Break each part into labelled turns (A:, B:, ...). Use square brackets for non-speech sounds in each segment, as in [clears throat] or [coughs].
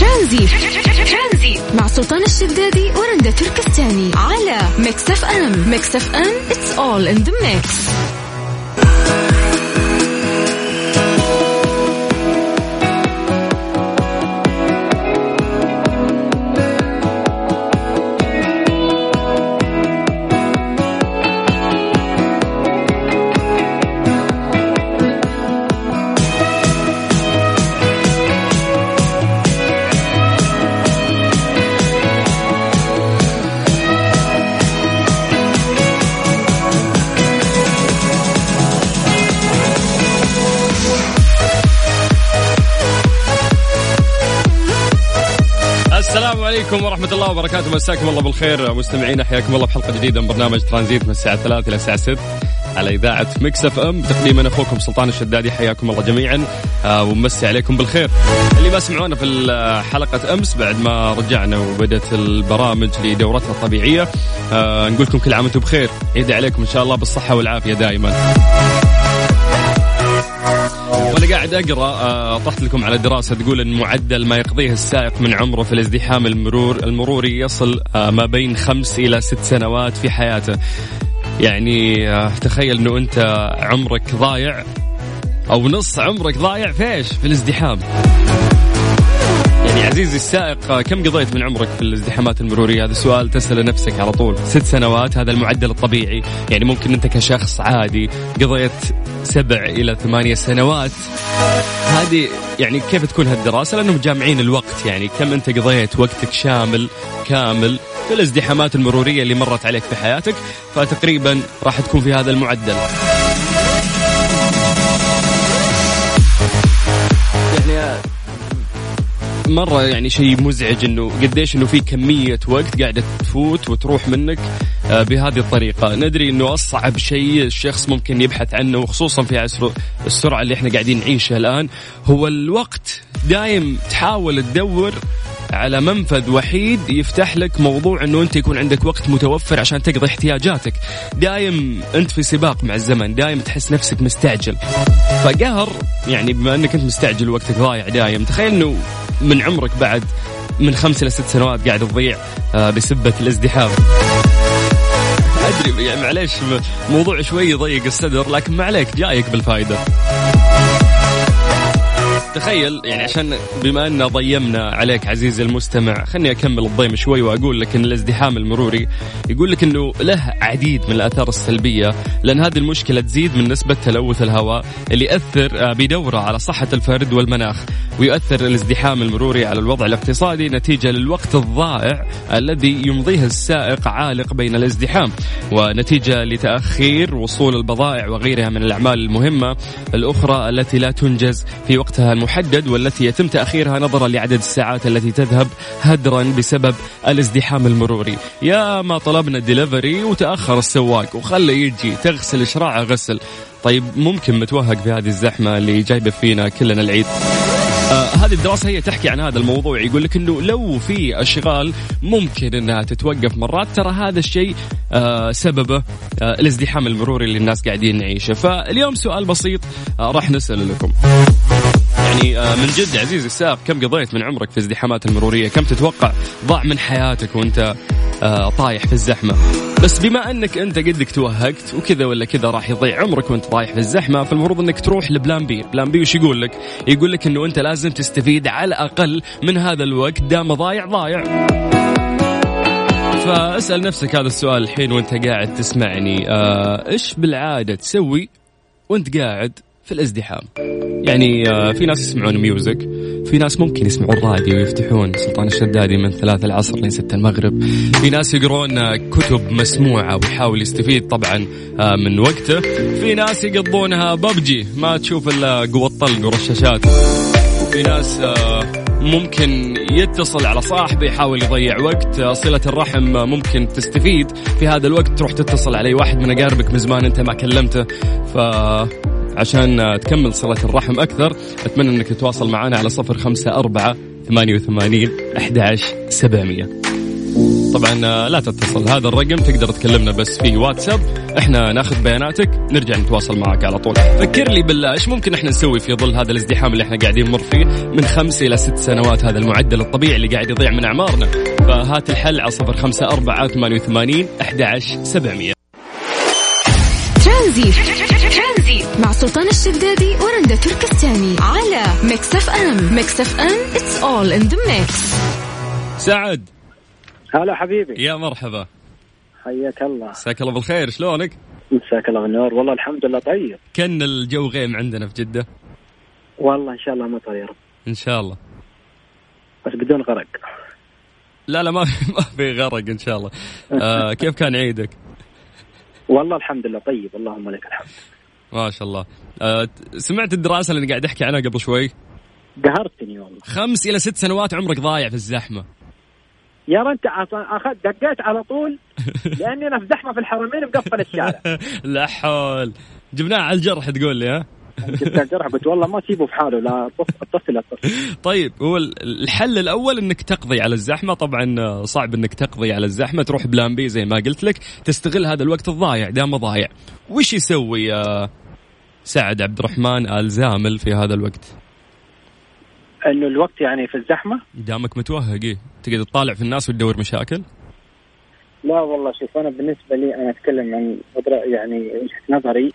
A: ترانزيت مع سلطان الشدادي ورندا تركستاني على ميكس اف ام ميكس اف ام اتس اول ان ذا ميكس
B: السلام عليكم ورحمة الله وبركاته مساكم الله بالخير مستمعين حياكم الله بحلقة جديدة من برنامج ترانزيت من الساعة 3 إلى الساعة 6 على إذاعة مكس اف ام تقديما أخوكم سلطان الشدادي حياكم الله جميعا آه ومسي عليكم بالخير اللي ما سمعونا في ال- حلقة أمس بعد ما رجعنا وبدأت البرامج لدورتها الطبيعية آه نقول لكم كل عام وأنتم بخير عيد عليكم إن شاء الله بالصحة والعافية دائما وانا قاعد اقرا آه، طحت لكم على دراسه تقول ان معدل ما يقضيه السائق من عمره في الازدحام المرور المروري يصل آه، ما بين خمس الى ست سنوات في حياته. يعني آه، تخيل انه انت عمرك ضايع او نص عمرك ضايع في ايش؟ في الازدحام. يعني عزيزي السائق آه، كم قضيت من عمرك في الازدحامات المرورية هذا سؤال تسأله نفسك على طول ست سنوات هذا المعدل الطبيعي يعني ممكن أنت كشخص عادي قضيت سبع إلى ثمانية سنوات هذه يعني كيف تكون هالدراسة لأنهم جامعين الوقت يعني كم أنت قضيت وقتك شامل كامل في الازدحامات المرورية اللي مرت عليك في حياتك فتقريبا راح تكون في هذا المعدل يعني مره يعني شيء مزعج انه قديش انه في كميه وقت قاعده تفوت وتروح منك آه، بهذه الطريقه، ندري انه اصعب شيء الشخص ممكن يبحث عنه وخصوصا في عصر السرعه اللي احنا قاعدين نعيشها الان هو الوقت، دايم تحاول تدور على منفذ وحيد يفتح لك موضوع انه انت يكون عندك وقت متوفر عشان تقضي احتياجاتك دايم انت في سباق مع الزمن دايم تحس نفسك مستعجل فقهر يعني بما انك انت مستعجل وقتك ضايع دايم تخيل انه من عمرك بعد من خمس الى ست سنوات قاعد تضيع آه، بسبه الازدحام ادري يعني معليش موضوع شوي يضيق الصدر لكن ما عليك جايك بالفائده تخيل
C: آه.
B: يعني عشان بما ان ضيمنا عليك عزيزي المستمع خلني اكمل الضيم شوي واقول لك ان الازدحام المروري يقول لك انه له عديد من الاثار السلبيه لان هذه المشكله تزيد من نسبه تلوث الهواء اللي ياثر آه، بدوره على صحه الفرد والمناخ ويؤثر الازدحام المروري على الوضع الاقتصادي نتيجه للوقت الضائع الذي يمضيه السائق عالق بين الازدحام ونتيجه لتاخير وصول البضائع وغيرها من الاعمال المهمه الاخرى التي لا تنجز في وقتها المحدد والتي يتم تاخيرها نظرا لعدد الساعات التي تذهب هدرا بسبب الازدحام المروري يا ما طلبنا ديليفري وتاخر السواق وخله يجي تغسل شراعه غسل طيب ممكن متوهق في هذه الزحمه اللي جايبه فينا كلنا العيد آه، هذه الدراسة هي تحكي عن هذا الموضوع يقول لك انه لو في اشغال ممكن انها تتوقف مرات ترى هذا الشيء آه، سببه آه، الازدحام المروري اللي الناس قاعدين نعيشه فاليوم سؤال بسيط آه، راح نسأله لكم يعني آه، من جد عزيزي السائق كم قضيت من عمرك في الازدحامات المرورية كم تتوقع ضاع من حياتك وانت آه، طايح في الزحمة بس بما انك انت قدك توهقت وكذا ولا كذا راح يضيع عمرك وانت طايح في الزحمة فالمفروض انك تروح لبلان بي بلان بي وش يقول لك يقول لك انه انت لازم تستفيد على الاقل من هذا الوقت دام ضايع ضايع فاسال نفسك هذا السؤال الحين وانت قاعد تسمعني آه، ايش بالعاده تسوي وانت قاعد في الازدحام يعني آه، في ناس يسمعون ميوزك في ناس ممكن يسمعون راديو ويفتحون سلطان الشدادي من ثلاثة العصر لستة المغرب في ناس يقرون آه، كتب مسموعة ويحاول يستفيد طبعا آه، من وقته في ناس يقضونها ببجي ما تشوف إلا قوة طلق ورشاشات في ناس آه، ممكن يتصل على صاحبه يحاول يضيع وقت آه، صلة الرحم آه، ممكن تستفيد في هذا الوقت تروح تتصل على واحد من أقاربك من زمان أنت ما كلمته ف عشان آه، تكمل صلة الرحم أكثر أتمنى أنك تتواصل معنا على صفر خمسة أربعة ثمانية وثمانين أحد عشر سبعمية طبعا آه، لا تتصل هذا الرقم تقدر تكلمنا بس في واتساب احنا ناخذ بياناتك نرجع نتواصل معك على طول فكر لي بالله ايش ممكن احنا نسوي في ظل هذا الازدحام اللي احنا قاعدين نمر فيه من خمس الى ست سنوات هذا المعدل الطبيعي اللي قاعد يضيع من اعمارنا فهات الحل على صفر خمسة أربعة ثمانية وثمانين أحد عشر سبعمية
A: ترانزي مع سلطان الشدادي ورندا تركستاني على ميكس اف ام ميكس اف ام اتس اول ان ذا ميكس
B: سعد
C: هلا حبيبي
B: يا مرحبا
C: حياك الله
B: مساك الله بالخير شلونك
C: مساك الله بالنور والله الحمد لله طيب
B: كان الجو غيم عندنا في جدة
C: والله ان شاء الله مطر يا رب
B: إن شاء الله
C: بس بدون غرق
B: لا لا ما في [laughs] ما في غرق إن شاء الله آه كيف كان عيدك
C: والله الحمد لله طيب اللهم لك الحمد
B: ما شاء الله آه ت- سمعت الدراسة اللي أنا قاعد أحكي عنها قبل شوي
C: قهرتني والله
B: خمس إلى ست سنوات عمرك ضايع في الزحمة [laughs]
C: يا رب انت اصلا اخذ دقيت على طول لاني انا في زحمه في الحرمين مقفل الشارع
B: لا حول جبناها على الجرح تقول لي ها
C: جبت الجرح قلت والله ما اسيبه في حاله لا الطفل- الطفل الطفل
B: طيب هو ال- الحل الاول انك تقضي على الزحمه طبعا آه، صعب انك تقضي على الزحمه تروح بلان بي زي ما قلت لك تستغل هذا الوقت الضايع دام ضايع وش يسوي آه، سعد عبد الرحمن ال زامل في هذا الوقت
C: انه الوقت يعني في الزحمه
B: دامك متوهق إيه؟ تقعد تطالع في الناس وتدور مشاكل
C: لا والله شوف انا بالنسبه لي انا اتكلم عن قدرة- يعني وجهه نظري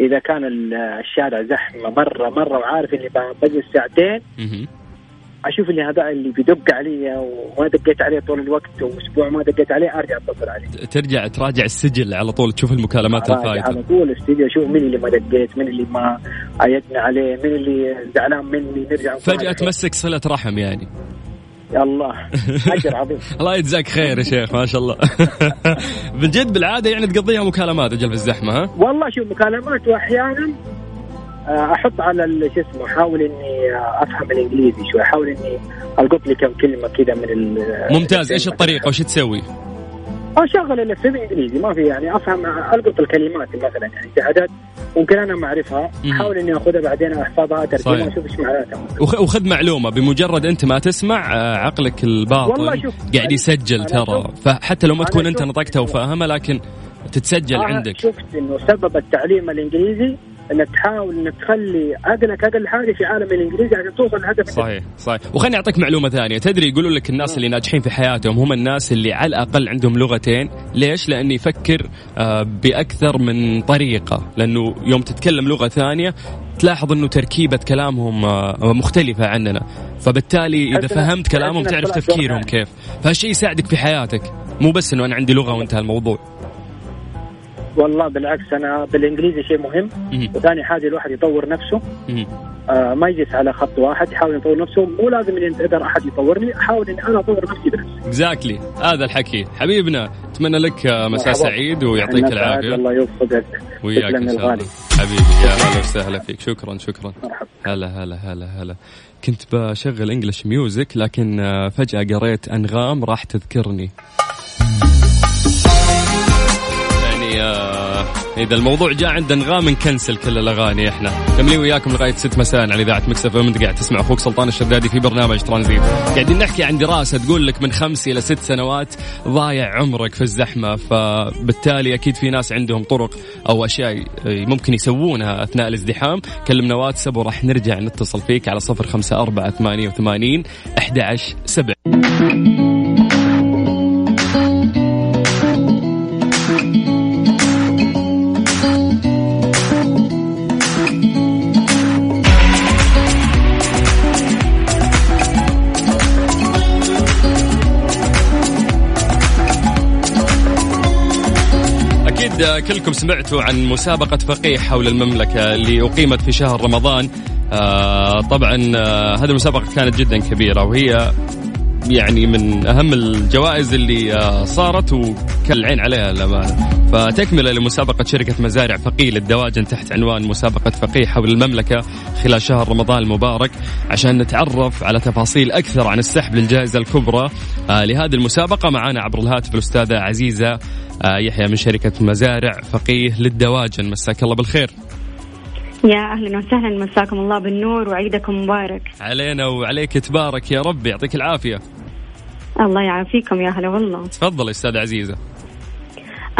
C: اذا كان ال- الشارع زحمه مره مره وعارف اني بجلس ساعتين
B: مهم.
C: اشوف اللي هذا اللي بيدق علي وما دقيت عليه طول الوقت واسبوع ما دقيت عليه ارجع اتصل عليه
B: ت- ترجع تراجع السجل على طول تشوف المكالمات
C: راجع
B: الفايته
C: على طول استديو اشوف مين اللي ما دقيت مين اللي ما عيدنا عليه مين اللي زعلان مني نرجع نصارع.
B: فجأة تمسك صلة رحم يعني
C: يا الله
B: [laughs]
C: اجر عظيم
B: الله يجزاك خير يا شيخ ما شاء الله [laughs] بجد بالعادة يعني تقضيها مكالمات أجل في الزحمة ها
C: والله شوف مكالمات واحيانا آه، احط على ال- شو اسمه احاول اني آه، افهم الانجليزي شوي احاول اني القط لي كم كلمه كذا من ال-
B: ممتاز إيش الطريقة وش تسوي
C: اشغل اللي في الانجليزي ما في يعني افهم القط الكلمات مثلا يعني في عادات ممكن انا ما اعرفها
B: مم.
C: احاول اني اخذها بعدين احفظها
B: صحيح.
C: اترجمها اشوف ايش معناتها
B: وخ- وخذ معلومه بمجرد انت ما تسمع آه، عقلك
C: والله
B: الباطن
C: شوف،
B: قاعد يسجل
C: أنا
B: ترى
C: شوف-
B: فحتى لو ما
C: أنا
B: تكون انت
C: شوف- آه،
B: نطقتها وفاهمها لكن تتسجل
C: أنا
B: عندك
C: شفت انه سبب التعليم الانجليزي انك تحاول انك تخلي عقلك اقل حاجه في عالم الانجليزي عشان توصل لهدفك
B: صحيح صحيح وخليني اعطيك معلومه ثانيه تدري يقولوا لك الناس اللي ناجحين في حياتهم هم الناس اللي على الاقل عندهم لغتين ليش لان يفكر آه، باكثر من طريقه لانه يوم تتكلم لغه ثانيه تلاحظ انه تركيبه كلامهم آه، مختلفه عننا فبالتالي اذا
C: تحس إنك-
B: فهمت كلامهم
C: تحس إنك
B: تعرف
C: طلعت
B: تفكيرهم
C: لغة
B: كيف فهالشيء يساعدك في حياتك مو بس انه انا عندي لغه وانتهى الموضوع
C: والله بالعكس انا بالانجليزي شيء مهم
B: مم.
C: وثاني حاجه الواحد يطور نفسه
B: مم.
C: آه ما يجلس على خط واحد يحاول يطور نفسه مو لازم اني انتظر احد يطورني احاول اني انا اطور نفسي بنفسي
B: اكزاكتلي هذا الحكي حبيبنا اتمنى لك آه، مساء
C: مرحبا. يعني
B: سعيد ويعطيك
C: الناس عاد
B: العافيه
C: الله يوفقك
B: وياك
C: تسلم
B: ان
C: يا
B: شاء الله
C: الغالي.
B: حبيبي يا هلا وسهلا فيك شكرا شكرا
C: مرحبا
B: هلا هلا هلا هلا كنت بشغل انجلش ميوزك لكن آه، فجأة قريت انغام راح تذكرني يعني آه، اذا الموضوع جاء عند انغام نكنسل كل الاغاني احنا نملي وياكم لغايه 6 مساء على اذاعه مكسف انت قاعد تسمع اخوك سلطان الشدادي في برنامج ترانزيت قاعدين نحكي عن دراسه تقول لك من خمس الى ست سنوات ضايع عمرك في الزحمه فبالتالي اكيد في ناس عندهم طرق او اشياء ممكن يسوونها اثناء الازدحام كلمنا واتساب وراح نرجع نتصل فيك على 054 88 11 7 أكيد كلكم سمعتوا عن مسابقة فقيه حول المملكة اللي أقيمت في شهر رمضان آه طبعا آه هذه المسابقة كانت جدا كبيرة وهي يعني من أهم الجوائز اللي آه صارت وكان العين عليها الأمانة فتكملة لمسابقة شركة مزارع فقيه للدواجن تحت عنوان مسابقة فقيه حول المملكة خلال شهر رمضان المبارك عشان نتعرف على تفاصيل أكثر عن السحب للجائزة الكبرى آه لهذه المسابقة معنا عبر الهاتف الأستاذة عزيزة آه، يحيى من شركة مزارع فقيه للدواجن مساك الله بالخير
D: يا اهلا وسهلا مساكم الله بالنور وعيدكم مبارك
B: علينا وعليك تبارك يا رب يعطيك العافية
D: الله يعافيكم يا هلا والله
B: تفضل استاذ عزيزه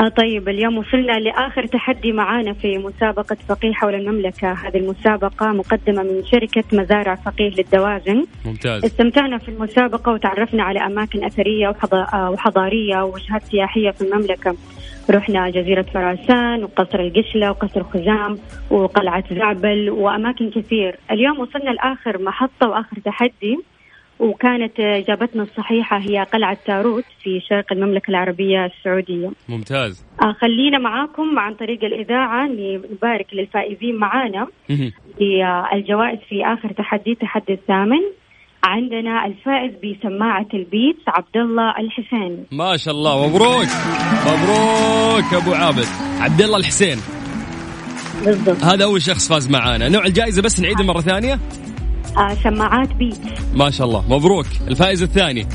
D: آه طيب اليوم وصلنا لآخر تحدي معانا في مسابقة فقيه حول المملكة هذه المسابقة مقدمة من شركة مزارع فقيه للدواجن
B: ممتاز
D: استمتعنا في المسابقة وتعرفنا على أماكن أثرية وحضا- آه وحضارية ووجهات سياحية في المملكة رحنا جزيرة فراسان وقصر القشلة وقصر خزام وقلعة زعبل وأماكن كثير اليوم وصلنا لآخر محطة وآخر تحدي وكانت آه، إجابتنا الصحيحة هي قلعة تاروت في شرق المملكة العربية السعودية
B: ممتاز
D: آه، خلينا معاكم عن طريق الإذاعة نبارك للفائزين معانا
B: مهم.
D: بالجوائز آه، في آخر تحدي التحدي الثامن عندنا الفائز بسماعة البيتس عبد الله الحسين
B: ما شاء الله مبروك مبروك ابو عابد عبد الله الحسين
D: بالضبط
B: هذا اول شخص فاز معانا نوع الجائزه بس نعيدها مره ثانيه
D: آه سماعات بيتس
B: ما شاء الله مبروك الفائز الثاني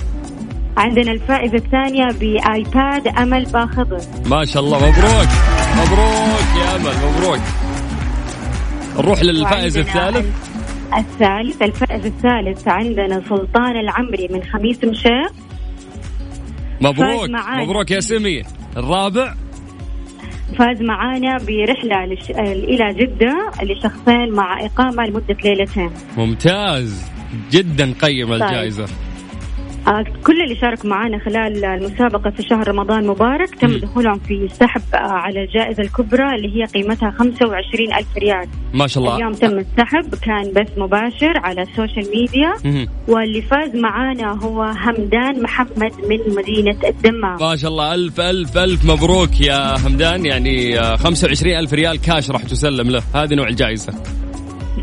D: عندنا الفائزة الثانية بآيباد أمل باخضر
B: ما شاء الله مبروك مبروك يا امل مبروك نروح للفائز
D: وعندنا
B: الثالث
D: ال- الثالث الفائز الثالث عندنا سلطان العمري من خميس مشاء
B: مبروك
D: معانا.
B: مبروك يا سمي الرابع
D: فاز معانا برحلة لش... إلى جدة لشخصين مع إقامة لمدة ليلتين
B: ممتاز جدا قيمة
D: طيب.
B: الجائزة
D: آه، كل اللي شارك معنا خلال المسابقة في شهر رمضان مبارك تم
B: مم.
D: دخولهم في سحب آه، على الجائزة الكبرى اللي هي قيمتها 25 ألف ريال
B: ما شاء الله
D: اليوم تم السحب كان بث مباشر على السوشيال ميديا
B: مهم.
D: واللي فاز معانا هو همدان محمد من مدينة الدمام
B: ما شاء الله ألف ألف ألف مبروك يا همدان يعني آه، 25 ألف ريال كاش راح تسلم له هذه نوع الجائزة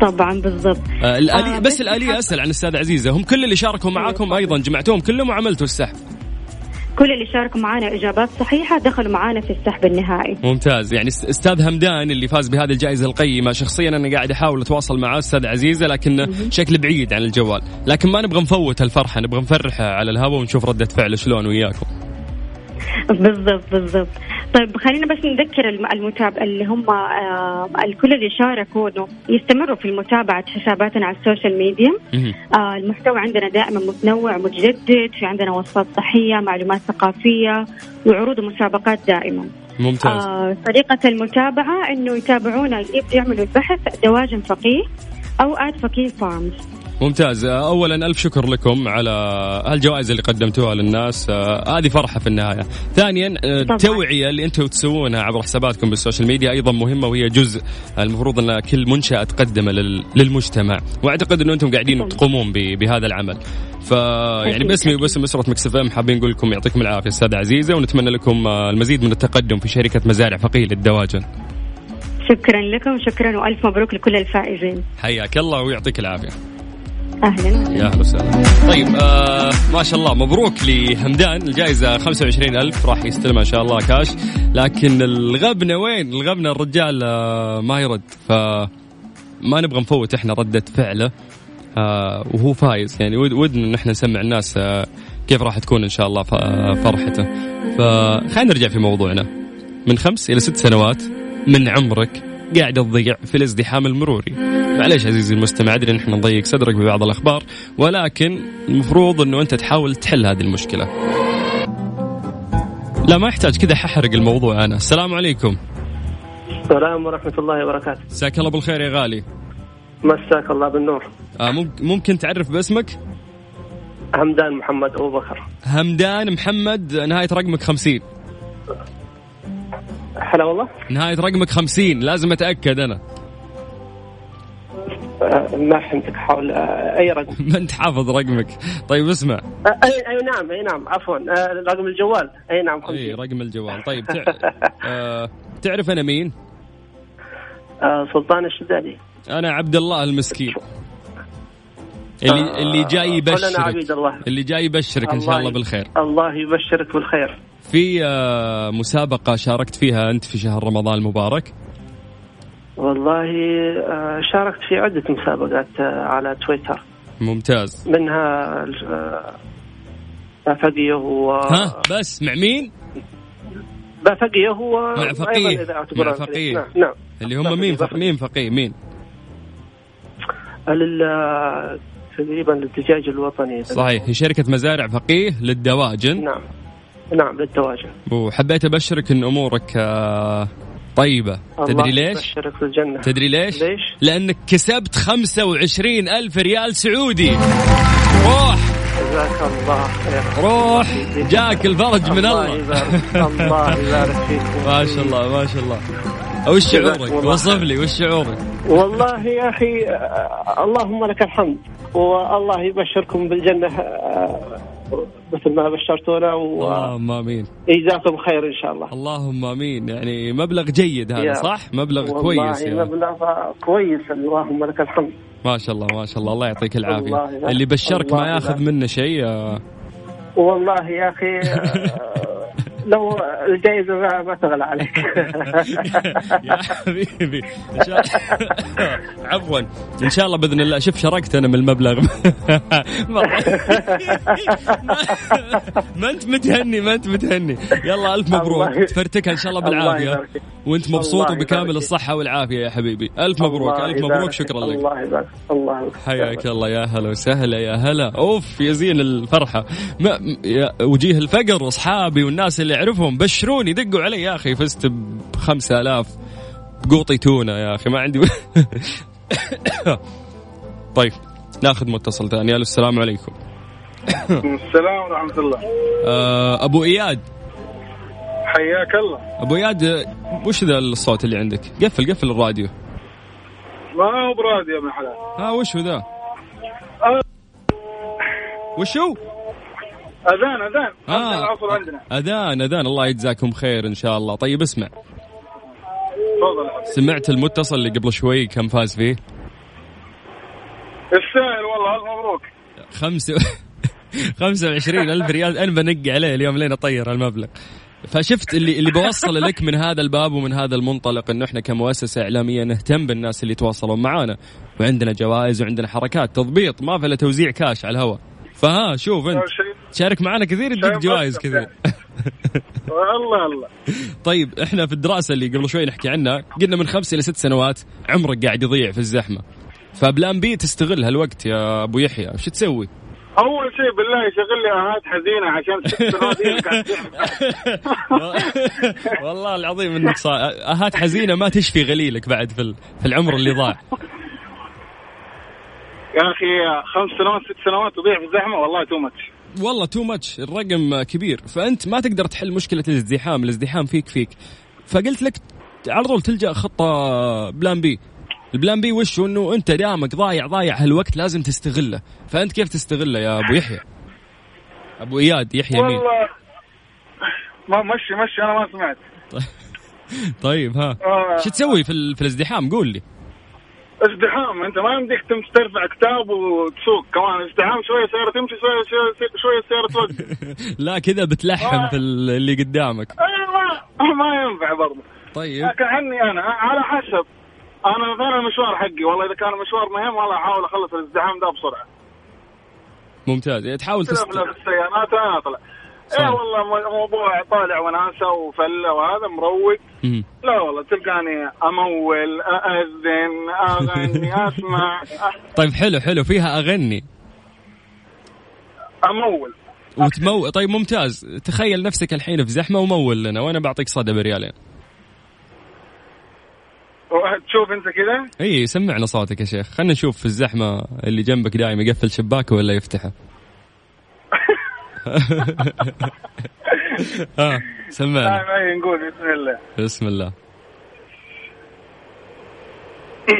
D: طبعا بالضبط
B: آه، الآلية
D: آه،
B: بس
D: بس
B: الآلية أسأل عن أستاذ عزيزة هم كل اللي شاركوا معاكم أيضا جمعتوهم كلهم وعملتوا السحب
D: كل اللي شاركوا معنا إجابات صحيحة دخلوا معنا في السحب النهائي
B: ممتاز يعني است- استاذ همدان اللي فاز بهذه الجائزه القيمه شخصيا انا قاعد احاول اتواصل مع استاذ عزيزه لكن شكل بعيد عن الجوال لكن ما نبغى نفوت الفرحه نبغى نفرحه على الهواء ونشوف رده فعله شلون وياكم
D: بالضبط بالضبط طيب خلينا بس نذكر الم- المتاب اللي هم آه الكل اللي شاركوا إنه يستمروا في متابعة حساباتنا على السوشيال ميديا
B: مهم.
D: آه المحتوى عندنا دائما متنوع متجدد في عندنا وصفات صحية معلومات ثقافية وعروض ومسابقات دائما
B: ممتاز
D: آه طريقة المتابعة إنه يتابعونا يبدأ يعملوا البحث دواجن فقيه أو آد فقيه فارمز
B: ممتاز آه، اولا الف شكر لكم على هالجوائز اللي قدمتوها للناس آه، هذه فرحه في النهايه ثانيا آه،
D: طبعاً.
B: التوعيه اللي انتم تسوونها عبر حساباتكم بالسوشيال ميديا ايضا مهمه وهي جزء آه، المفروض ان كل منشاه تقدمه لل- للمجتمع واعتقد ان انتم قاعدين
D: طبعاً.
B: تقومون ب- بهذا العمل ف يعني
D: أكيد،
B: باسمي
D: أكيد.
B: وباسم اسره مكسف ام حابين نقول لكم يعطيكم العافيه استاذ عزيزه ونتمنى لكم آه، المزيد من التقدم في شركه مزارع فقيه للدواجن
D: شكرا لكم شكرا وألف مبروك لكل الفائزين
B: حياك الله ويعطيك العافيه
D: أهلا
B: يا اهلا وسهلا طيب آه ما شاء الله مبروك لهمدان الجائزه 25000 راح يستلمها ان شاء الله كاش لكن الغبنه وين الغبنه الرجال آه ما يرد ف ما نبغى نفوت احنا رده فعله آه وهو فايز يعني ود- ودنا ان احنا نسمع الناس آه كيف راح تكون ان شاء الله ف- آه، فرحته فخلينا نرجع في موضوعنا من خمس الى ست سنوات من عمرك قاعد تضيع في الازدحام المروري معليش عزيزي المستمع ادري ان احنا نضيق صدرك ببعض الاخبار ولكن المفروض انه انت تحاول تحل هذه المشكله لا ما يحتاج كذا ححرق الموضوع انا السلام عليكم
E: السلام ورحمة الله وبركاته
B: مساك الله بالخير يا غالي
E: مساك الله بالنور
B: آه، ممك- ممكن تعرف باسمك
E: همدان محمد أبو بكر
B: همدان محمد نهايه رقمك 50
E: هلا والله
B: نهايه رقمك 50 لازم اتاكد انا
E: آه، ما فهمتك حول آه، أي رقم
B: [laughs] ما انت حافظ رقمك طيب اسمع
E: آه، أي, أي نعم أي نعم عفوا آه، رقم الجوال أي نعم
B: اي
E: 50
B: رقم الجوال طيب
E: [laughs]
B: تع... آه... تعرف انا مين
E: آه، سلطان الشدادي
B: انا عبد الله المسكين اللي
E: آه،
B: اللي جاي
E: كلنا عبيد
B: يبشرك
E: الله
B: اللي جاي يبشرك ان شاء الله
E: الله
B: بالخير
E: الله يبشرك بالخير
B: في آه، مسابقه شاركت فيها انت في شهر رمضان المبارك
E: والله آه، شاركت في عدة مسابقات آه، على تويتر
B: ممتاز
E: منها آه، بافقيه و
B: ها بس مع مين
E: بافقيه هو
B: مع فقيه. مع فقيه.
E: نعم نعم
B: اللي هم مين
E: بفقيه.
B: فق... مين فقيه مين
E: لل- تقريبا للدجاج الوطني
B: صحيح هي شركة مزارع فقيه للدواجن
E: نعم نعم للدواجن
B: وحبيت أبشرك إن أمورك آه، طيبة تدري ليش؟
E: بشرك في الجنة
B: تدري ليش؟
E: ليش؟
B: لأنك كسبت 25 ألف ريال سعودي روح
E: جزاك الله خير
B: روح جاك الفرج من الله
E: يبارك الله يبارك فيك
B: [laughs] ما شاء الله ما شاء الله وش شعورك؟
E: والله.
B: وصف لي وش شعورك؟
E: والله يا اخي آه، اللهم لك الحمد والله يبشركم بالجنه آه، مثل ما بشرتونا
B: اللهم امين
E: ويجزاكم خير ان شاء الله
B: اللهم امين يعني مبلغ جيد هذا
E: يا.
B: صح؟ مبلغ
E: والله
B: كويس يعني.
E: مبلغ كويس اللهم لك الحمد
B: ما شاء الله ما شاء الله الله يعطيك العافيه
E: الله يبارك.
B: اللي بشرك ما
E: الله
B: ياخذ
E: يبارك.
B: منه شيء آه،
E: والله يا
B: [laughs]
E: اخي آه، لو الجائزه ما- ما تغلى
B: [laughs]
E: عليك [laughs]
B: يا [laughs] حبيبي ان شاء الله [laughs] عفوا ان شاء الله باذن الله شوف شاركت انا من المبلغ [laughs] ما, ما انت متهني ما انت متهني يلا الف مبروك
E: الله-
B: تفرتكها ان شاء الله
E: الله
B: بالعافيه
E: يبارك فيك.
B: وانت مبسوط
E: الله يبارك
B: وبكامل
E: فيك.
B: الصحه والعافيه يا حبيبي الف مبروك
E: الله
B: الف
E: يبارك
B: مبروك
E: فيك.
B: شكرا لك
E: الله يبارك الله يبارك.
B: حياك الله يا هلا وسهلا يا هلا اوف يا زين الفرحه ما يا وجيه الفقر واصحابي والناس اللي اعرفهم بشروني دقوا علي يا اخي فزت ب 5000 قوطي تونه يا اخي ما عندي [coughs] طيب ناخذ متصل ثاني الو السلام عليكم
F: السلام ورحمة الله
B: آه، ابو اياد
F: حياك الله
B: ابو اياد آه، وش ذا الصوت اللي عندك قفل قفل الراديو
F: ما هو براد يا ابن حلال آه،
B: ها وش هو ذا وشو
F: أذان أذان
B: آه.
F: أذان العصر عندنا
B: اذان اذان الله يجزاكم خير ان شاء الله طيب اسمع
F: تفضل يا حبيبي.
B: سمعت المتصل اللي قبل شوي كم فاز فيه
F: السائل والله ألف مبروك
B: خمسة [laughs] خمسة وعشرين ألف ريال أنا بنقي عليه اليوم لين أطير المبلغ فشفت اللي اللي بوصل لك من هذا الباب ومن هذا المنطلق انه احنا كمؤسسه اعلاميه نهتم بالناس اللي يتواصلون معانا وعندنا جوائز وعندنا حركات تضبيط ما في الا توزيع كاش على الهواء فها شوف انت
F: أول شيء
B: شارك معنا كثير يديك
F: شايف
B: جوائز
F: بس
B: كثير
F: الله الله
B: طيب احنا في الدراسه اللي قبل شوي نحكي عنها قلنا من خمس الى ست سنوات عمرك قاعد يضيع في الزحمه فبلان بي تستغل هالوقت يا ابو يحيى شو تسوي؟
F: أول شيء بالله يشغل لي أهات حزينة عشان ست سنوات هي اللي قاعد تجمع.
B: [laughs] والله العظيم انك صا... اهات حزينه ما تشفي غليلك بعد في, ال... في العمر اللي ضاع
F: يا أخي خمس سنوات ست سنوات تضيع في الزحمة والله تو ماتش
B: والله تو ماتش الرقم كبير فانت ما تقدر تحل مشكله الازدحام الازدحام فيك فيك فقلت لك على طول تلجا خطه بلان بي البلان بي وش هو؟ انه انت دامك ضايع ضايع هالوقت لازم تستغله فانت كيف تستغله يا ابو يحيى ابو اياد يحيى مين
F: والله ما مشي مشي أنا ما سمعت
B: طيب ها
F: آه.
B: شو تسوي في, ال... في الازدحام قول لي [laughs]
F: ازدحام انت ما يمديك تمشي ترفع كتاب وتسوق كمان ازدحام شويه سياره تمشي شويه شويه شويه السياره توقف
B: لا كذا بتلحم في ال- اللي قدامك
F: أيوة، ما ينفع برضه
B: طيب
F: لكن عني انا على حسب انا مثلا المشوار حقي والله اذا كان المشوار مهم والله احاول اخلص الازدحام ده بسرعه
B: ممتاز يعني تحاول
F: كذا
B: تست...
F: في السيارات انا اطلع
B: صحيح.
F: اي والله مو- موضوع طالع وناسه وفله وهذا مروق
B: مم.
F: لا والله تلقاني امول ااذن
B: [laughs]
F: اغني اسمع أ-
B: طيب حلو حلو فيها اغني
F: امول
B: وتمو طيب ممتاز تخيل نفسك الحين في زحمه ومول لنا وانا بعطيك صدى بريالين
F: تشوف انت كذا
B: اي سمعنا صوتك يا شيخ خلينا نشوف في الزحمه اللي جنبك دايم يقفل شباكه ولا يفتحه [laughs] ها سمعنا
F: دائما أي طيب، نقول بسم الله
B: بسم الله
F: [coughs]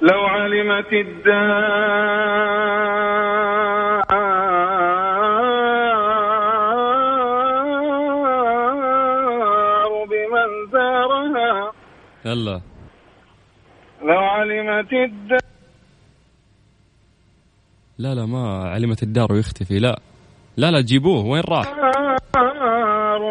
F: لو علمت الدار بمن زارها
B: يلا
F: لو علمت الدار
B: لا لا ما علمت الدار ويختفي لا لا لا جيبوه وين راح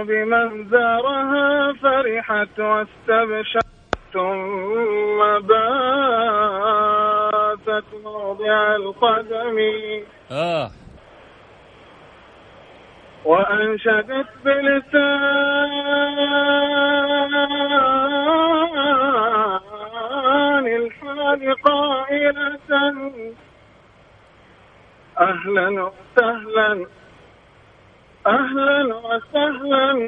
F: بمن زارها فرحت واستبشرت ثم باتت موضع القدم
B: اه
F: وأنشدت بلسان الحال لقائلة أهلا وسهلا أهلا وسهلا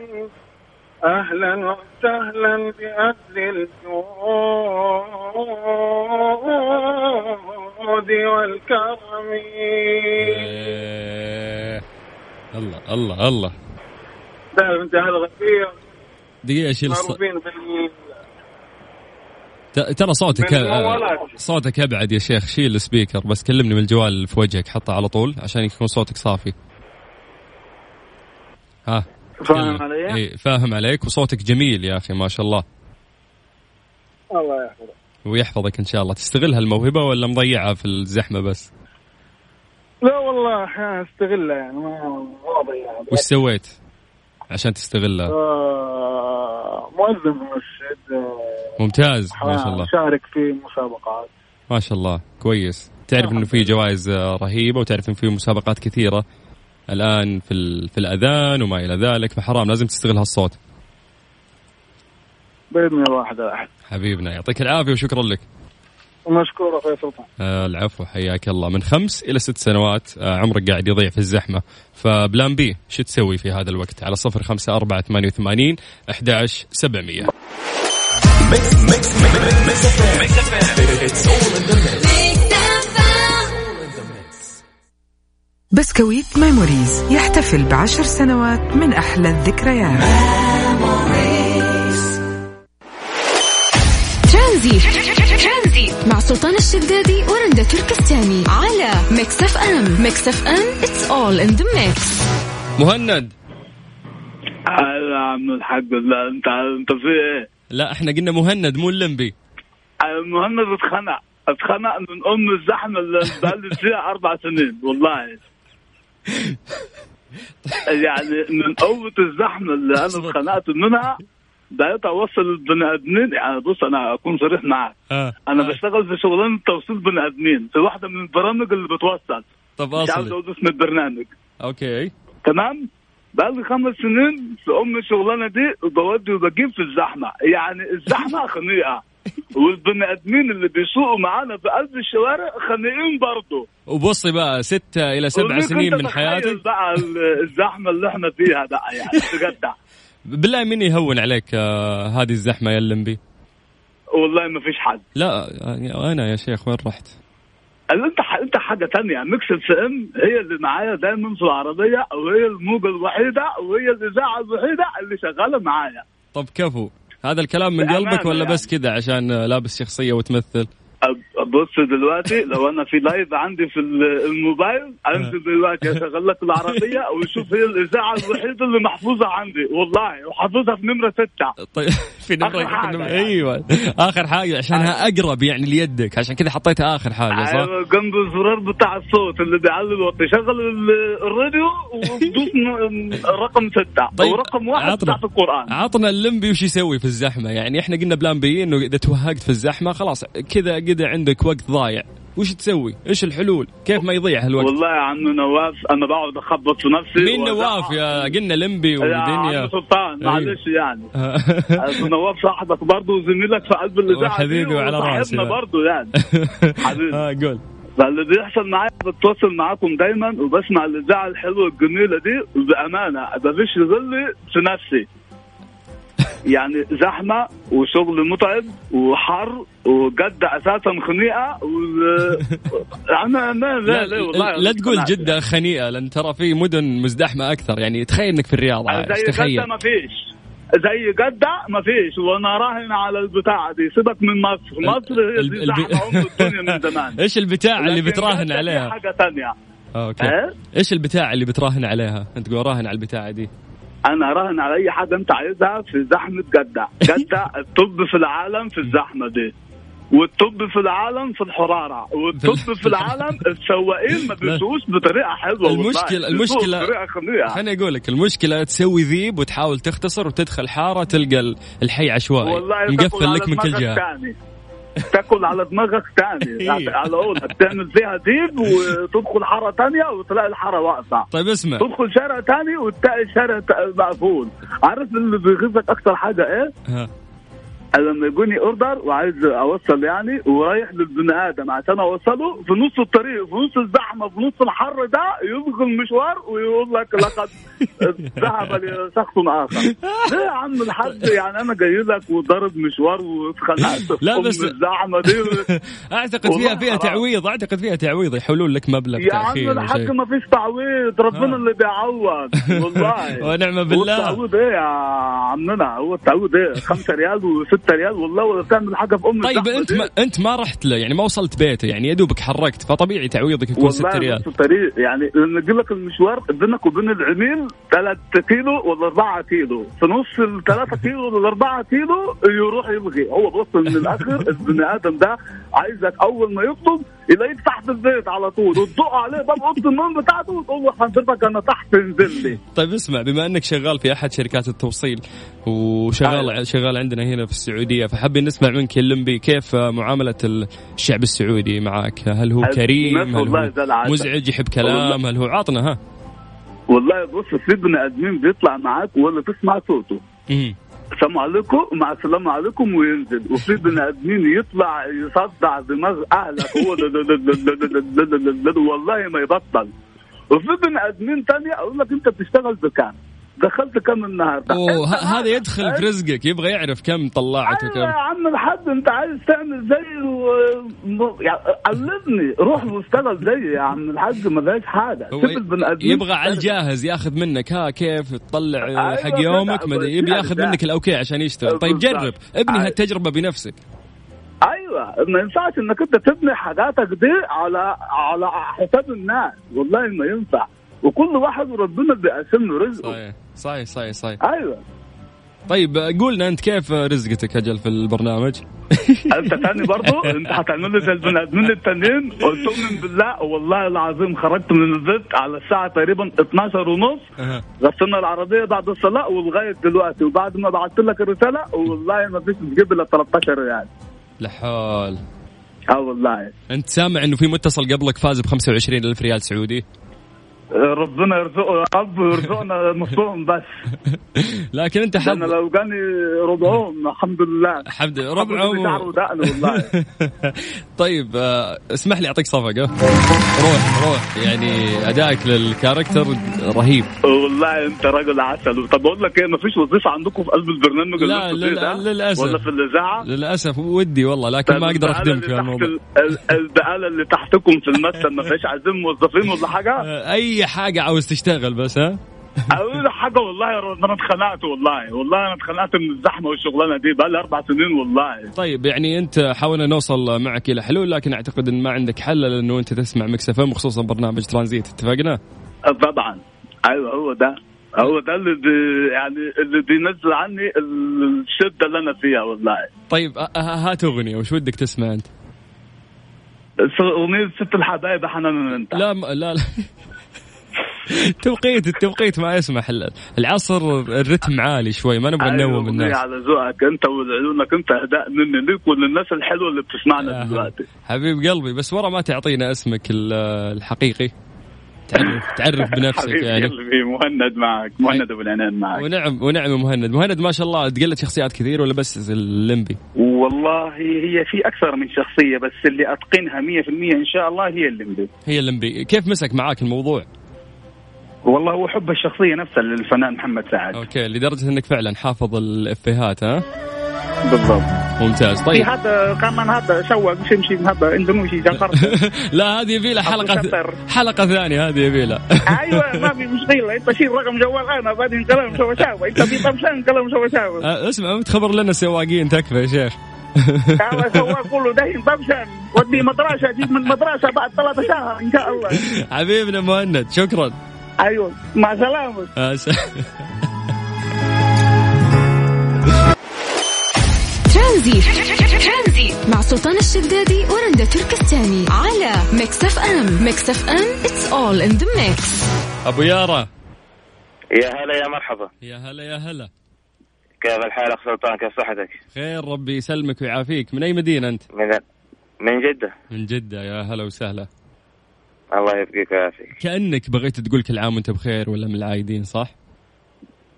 F: أهلا وسهلا بأهل الجود والكرم
B: إيه. الله الله الله
F: تعرف أنت هذا غفير
B: دقيقة اشيل الص-
F: معروفين بال
B: ت- ترى صوتك
F: بالموالات.
B: صوتك ابعد يا شيخ شيل السبيكر بس كلمني من الجوال في وجهك حطه على طول عشان يكون صوتك صافي ها
F: فاهم
B: كلم.
F: علي؟
B: إيه فاهم عليك وصوتك جميل يا اخي ما شاء الله
F: الله يحفظك
B: ويحفظك ان شاء الله تستغل هالموهبه ولا مضيعها في الزحمه بس
F: لا والله استغلها يعني ما ما يعني. أضيعها.
B: وش سويت عشان تستغلها
F: آه، مؤذن في المسجد آه،
B: ممتاز ما شاء الله
F: شارك في مسابقات
B: ما شاء الله كويس تعرف انه في جوائز آه، رهيبه وتعرف انه في مسابقات كثيره الان في ال- في الاذان وما الى ذلك فحرام لازم تستغل هالصوت
F: باذن الله احد الاحد
B: حبيبنا يعطيك العافيه وشكرا لك
F: ومشكوره فيصل سلطان
B: آه، العفو حياك الله من خمس الى ست سنوات آه، عمرك قاعد يضيع في الزحمه فبلان بي شو تسوي في هذا الوقت على صفر خمسه اربعه ثمانيه وثمانين احدى عشر سبعمئه
G: بسكويت ميموريز يحتفل بعشر سنوات من أحلى الذكريات
A: ترانزي مع سلطان الشدادي ورندا تركستاني على ميكس اف ام ميكس اف ام اتس اول ان ذا ميكس
B: مهند
H: هلا عم الحق لا انت انت في ايه؟
B: لا احنا قلنا مهند مو اللمبي
H: أه، مهند اتخنق اتخنق من ام الزحمه اللي بقى لي فيها اربع سنين والله يعني من قوة الزحمة اللي أنا اتخنقت منها بقيت أوصل البني آدمين يعني بص أنا أكون صريح معاك
B: آه.
H: أنا
B: آه.
H: بشتغل في شغلانة توصيل بني آدمين في واحدة من البرامج اللي بتوصل مش
B: طب
H: عاوز
B: اصلي
H: أقول اسم البرنامج
B: اوكي
H: تمام بقى لي خمس سنين في ام الشغلانه دي بودي وبجيب في الزحمه يعني
B: [laughs]
H: الزحمه خنيقه والبني ادمين اللي بيسوقوا معانا في قلب الشوارع خانقين برضه
B: وبصي بقى ستة إلى سبع
H: وليك
B: سنين
H: أنت
B: من
H: تتخيل
B: حياتك
H: بقى ال- الزحمه اللي احنا فيها بقى يعني بجد
B: بالله مين يهون عليك آه، هذه الزحمة يا اللمبي
H: والله ما فيش حد
B: لا آه، أنا يا شيخ وين رحت
H: قال انت ح- انت حاجه تانية ميكس اف ام هي اللي معايا دايما في العربيه وهي الموجه الوحيده وهي الاذاعه الوحيده اللي شغاله معايا
B: طب كفو هذا الكلام من
H: بأمانة
B: قلبك ولا
H: يعني.
B: بس كذا عشان آه، لابس شخصية وتمثل
H: أب- بص دلوقتي لو انا في لايف عندي في ال- الموبايل انزل دلوقتي اشغل لك العربيه وشوف هي الاذاعه الوحيده اللي محفوظه عندي والله وحافظها في نمره سته
B: طيب [laughs] في نمرة
H: آخر حاجة يعني.
B: ايوه اخر حاجة عشانها اقرب يعني ليدك عشان كذا حطيتها اخر حاجة صح؟
H: أيوة، جنب الزرار بتاع الصوت اللي بيعلي الوقت شغل ال- الراديو ودوس ن- رقم سته
B: طيب،
H: ورقم واحد
B: عطنا.
H: بتاع في القران
B: عطنا اللمبي وش يسوي في الزحمة يعني احنا قلنا بلان بي انه اذا توهقت في الزحمة خلاص كذا كذا عندك وقت ضايع وش تسوي؟ ايش الحلول؟ كيف ما يضيع هالوقت؟
H: والله يا عم نواف انا بقعد اخبط في نفسي
B: مين نواف يا قلنا لمبي
H: يا عم
B: والدنيا
H: سلطان
B: أيوة.
H: معلش يعني أبو نواف صاحبك برضه وزميلك في قلب الاذاعه دي
B: وحبيبي وعلى
H: وصاحبنا
B: راسي.
H: برضه
B: [laughs]
H: يعني حبيبي.
B: آه، قول
H: فاللي بيحصل معايا بتواصل معاكم دايما وبسمع الاذاعه الحلوه الجميله دي بامانه مفيش غلي في نفسي يعني زحمه وشغل متعب وحر وجد اساسا خنيقه
B: [laughs]
H: وال... انا ما لا لا والله يعني.
B: لا تقول
H: أنا-
B: جدة خنيئة لأن ترى في مدن مزدحمة أكثر يعني تخيل إنك في الرياض عايش،
H: زي جدة
B: تخيل
H: ما فيش زي جدة ما فيش وانا راهن على البتاعة دي سيبك من مصر مصر هي
B: ال-
H: دي
B: الب-
H: زحمة ام الدنيا من زمان
B: إيش البتاع [laughs] اللي
H: لكن
B: بتراهن
H: جدة دي
B: عليها؟
H: حاجة تانية
B: آه، أوكي
H: ها؟
B: إيش البتاع اللي بتراهن عليها؟ أنت تقول راهن على البتاعة دي
H: انا راهن على اي حاجة انت عايزها في زحمة
B: [laughs]
H: جدة جدة الطب في العالم في الزحمة دي والطب في العالم في الحرارة والطب
B: [laughs]
H: في العالم السواقين ما بيسوقوش بطريقة حلوة والله.
B: المشكلة-
H: بيسوقوا
B: المشكلة-
H: بطريقة خنيقة
B: خليني أقول لك المشكلة تسوي ذيب وتحاول تختصر وتدخل حارة تلقى ال- الحي عشوائي
H: والله تاكل
B: مقفل
H: على يعني.
B: طيب، لك من كل
H: دماغك
B: جهة
H: تاني. تاكل على دماغك
B: [laughs]
H: تاني
B: إيه.
H: يعني على قولك تعمل فيها ديب وتدخل حاره تانية وتلاقي الحاره واقفه
B: طيب اسمع
H: تدخل شارع تاني وتلاقي الشارع ت- مقفول عارف اللي بيغيظك اكتر حاجه ايه
B: ها.
H: لما يجوني اوردر وعايز اوصل يعني ورايح للبني ادم عشان اوصله في نص الطريق في نص الزحمه في نص الحر ده يلغي المشوار ويقول لك
B: [laughs]
H: لقد ذهب لشخص اخر ليه يا عم الحاج يعني انا جاي لك وضارب مشوار واتخلقت في
B: لا
H: أم
B: بس-
H: الزحمه
B: [laughs]
H: دي
B: اعتقد فيها
H: والله
B: فيها
H: حرام.
B: تعويض اعتقد فيها تعويض يحولون لك مبلغ
H: يا عم
B: تاخير
H: الحاج
B: وشيء.
H: ما فيش تعويض ربنا
B: آه.
H: اللي
B: [laughs]
H: بيعوض والله
B: ونعم بالله
H: التعويض ايه يا عمنا هو التعويض ايه 5 ريال و6 ريال والله ولا تعمل حاجه في ام
B: طيب
H: الزحمة
B: انت
H: دي.
B: ما انت ما رحت له يعني ما وصلت بيته يعني يا دوبك حركت فطبيعي تعويضك يكون 6
H: والله
B: ريال
H: نص الطريق يعني لما يجي لك المشوار بينك وبين العميل 3 كيلو ولا 4 كيلو في نص ال 3 كيلو ولا 4 كيلو يروح يلغي هو بص من الاخر البني ادم ده عايزك اول ما يطلب يلاقيك تحت البيت على طول وتدق عليه باب اوضه النوم بتاعته وتقول له حضرتك انا تحت انزل لي
B: طيب اسمع بما انك شغال في احد شركات التوصيل
H: أيوة.
B: وشغال شغال عندنا هنا في السعوديه فحابين نسمع منك اللمبي كيف معامله الشعب السعودي معك هل هو كريم
H: الناس
B: هل
H: والله
B: هو
H: زي العسل.
B: مزعج يحب كلام
H: والله.
B: هل هو عطنا ها
H: والله بص في بني ادمين بيطلع معاك ولا تسمع صوته
B: مم.
H: السلام عليكم مع السلام عليكم وينزل وفي بني ادمين يطلع يصدع دماغ اهلك هو لا- لا- لا- لا- لا- لا- لا- لا- لا- والله ما يبطل وفي بني ادمين تانية اقول لك انت بتشتغل بكام دخلت كام النهارده
B: اوه
H: أنت
B: ه- هذا يدخل في
H: أيوة
B: رزقك يبغى يعرف كم طلعت
H: يا
B: وكم
H: عم الحاج انت عايز تعمل زي ال- م- يعني علمني روح واشتغل زي يا عم الحاج ما فيهاش حاجه
B: هو
H: سيب البني ادمين
B: يبغى على الجاهز ياخذ منك ها كيف تطلع
H: أيوة
B: حق
H: كده.
B: يومك ما أدري، يبي
H: يعني
B: ياخذ
H: ده.
B: منك الاوكي عشان يشتغل طيب
H: بالضبط.
B: جرب ابني
H: أيوة.
B: هالتجربه بنفسك
H: ايوه ما ينفعش انك انت تبني حاجاتك دي على على حساب الناس والله ما ينفع وكل واحد وربنا بيقسم له رزقه
B: صحيح صحيح صحيح صحيح
H: ايوه
B: طيب قولنا انت كيف رزقتك اجل في البرنامج؟ [laughs]
H: انت تاني برضو انت هتعمل لي زي البني ادمين التانيين قلت لهم بالله والله العظيم خرجت من البيت على الساعه تقريبا 12 ونص
B: أها.
H: غسلنا العربيه بعد الصلاه ولغايه دلوقتي وبعد ما بعت لك الرساله والله ما فيش تجيب الا 13 ريال
B: لحول
H: اه والله
B: انت سامع انه في متصل قبلك فاز ب 25 الف ريال سعودي؟
H: ربنا يرزقه يا رب
B: [laughs]
H: ويرزقنا نصهم بس
B: لكن انت
H: ده انا
B: حظ
H: لو جاني ربعهم الحمد لله
B: حمد
H: الحمد
B: ربع
H: لله
B: عمر.
H: شعره دقن
B: [laughs]
H: والله
B: طيب آه، اسمح لي اعطيك صفقه روح روح يعني ادائك للكاركتر رهيب
H: والله انت راجل عسل طب اقول لك ايه مفيش وظيفه عندكم في قلب البرنامج اللي
B: لا،
H: انتوا
B: لل-
H: فيه ده؟
B: للأسف.
H: ولا في الاذاعه
B: للاسف ودي والله لكن ما اقدر
H: البقالة
B: اخدمك
H: طيب، اللي
B: في
H: تحت
B: الموضوع
H: ال- ال- البقاله اللي تحتكم في المكتب ما فيش عايزين موظفين ولا
B: [laughs]
H: حاجه
B: آه، اي حاجه عاوز تشتغل بس ها
H: اقول لك حاجه والله يا رب، انا اتخنقت والله والله انا اتخنقت من الزحمه والشغلانه دي بقى لي اربع سنين والله
B: طيب يعني انت حاولنا نوصل معك الى حلول لكن اعتقد ان ما عندك حل لانه انت تسمع مكسفه وخصوصا برنامج ترانزيت اتفقنا؟
H: طبعا ايوه آه، هو ده هو ده اللي بي يعني اللي بينزل عني الشده اللي انا فيها والله
B: طيب آه، آه، هات اغنيه وش ودك تسمع انت؟
H: اغنيه ست الحبايب حنان من انت
B: لا م- لا لا [laughs] توقيت التوقيت ما يسمح ال- العصر الرتم عالي شوي ما نبغى
H: أيوة،
B: ننوم
H: أغنية
B: الناس
H: على ذوقك انت ولعيونك انت اهداء مني ليك وللناس الحلوه اللي بتسمعنا
B: آه،
H: دلوقتي
B: حبيب قلبي بس ورا ما تعطينا اسمك ال- الحقيقي تعرف
H: [laughs]
B: تعرف بنفسك
H: حبيب
B: يعني
H: قلبي مهند معك مهند ابو العنان معك
B: ونعم ونعم مهند مهند ما شاء الله تقلد شخصيات كثير ولا بس اللمبي
H: والله هي في اكثر من شخصيه بس اللي اتقنها 100% ان شاء الله هي اللي
B: هي اللمبي كيف مسك معاك الموضوع
H: والله هو حب الشخصيه نفسها للفنان محمد سعد
B: اوكي لدرجه انك فعلا حافظ الافيهات ها
H: بالضبط
B: ممتاز
E: في
B: طيب
E: هذا كمان هذا شوق شمشي هذا اندونيسي جاكرتا
B: لا هذه يبي لها حلقه
E: شطر.
B: حلقه ثانيه هذه يبي لها
E: ايوه ما في مشكله انت شيل رقم جوال انا بعدين كلام سوا سوا انت في طمسان كلام سوا سوا
B: [laughs] اسمع ما تخبر لنا سواقين تكفى يا شيخ [laughs]
E: هذا سواق كله دهين طمسان ودي مدرسه اجيب من مدرسه بعد ثلاثة شهر ان شاء الله
B: حبيبنا مهند شكرا
E: ايوه مع سلامه
B: أس- [laughs]
A: ترانزيت ترانزيت مع سلطان الشدادي ورندا تركستاني على ميكس اف ام ميكس اف ام اتس اول ان ذا ميكس
B: ابو يارا
I: يا هلا يا مرحبا
B: يا هلا يا هلا
I: كيف الحال اخ سلطان كيف صحتك
B: خير ربي يسلمك ويعافيك من اي مدينه انت
I: من من جده
B: من جده يا هلا وسهلا
I: الله يبقيك ويعافيك
B: كانك بغيت تقول كل عام وانت بخير ولا من العايدين صح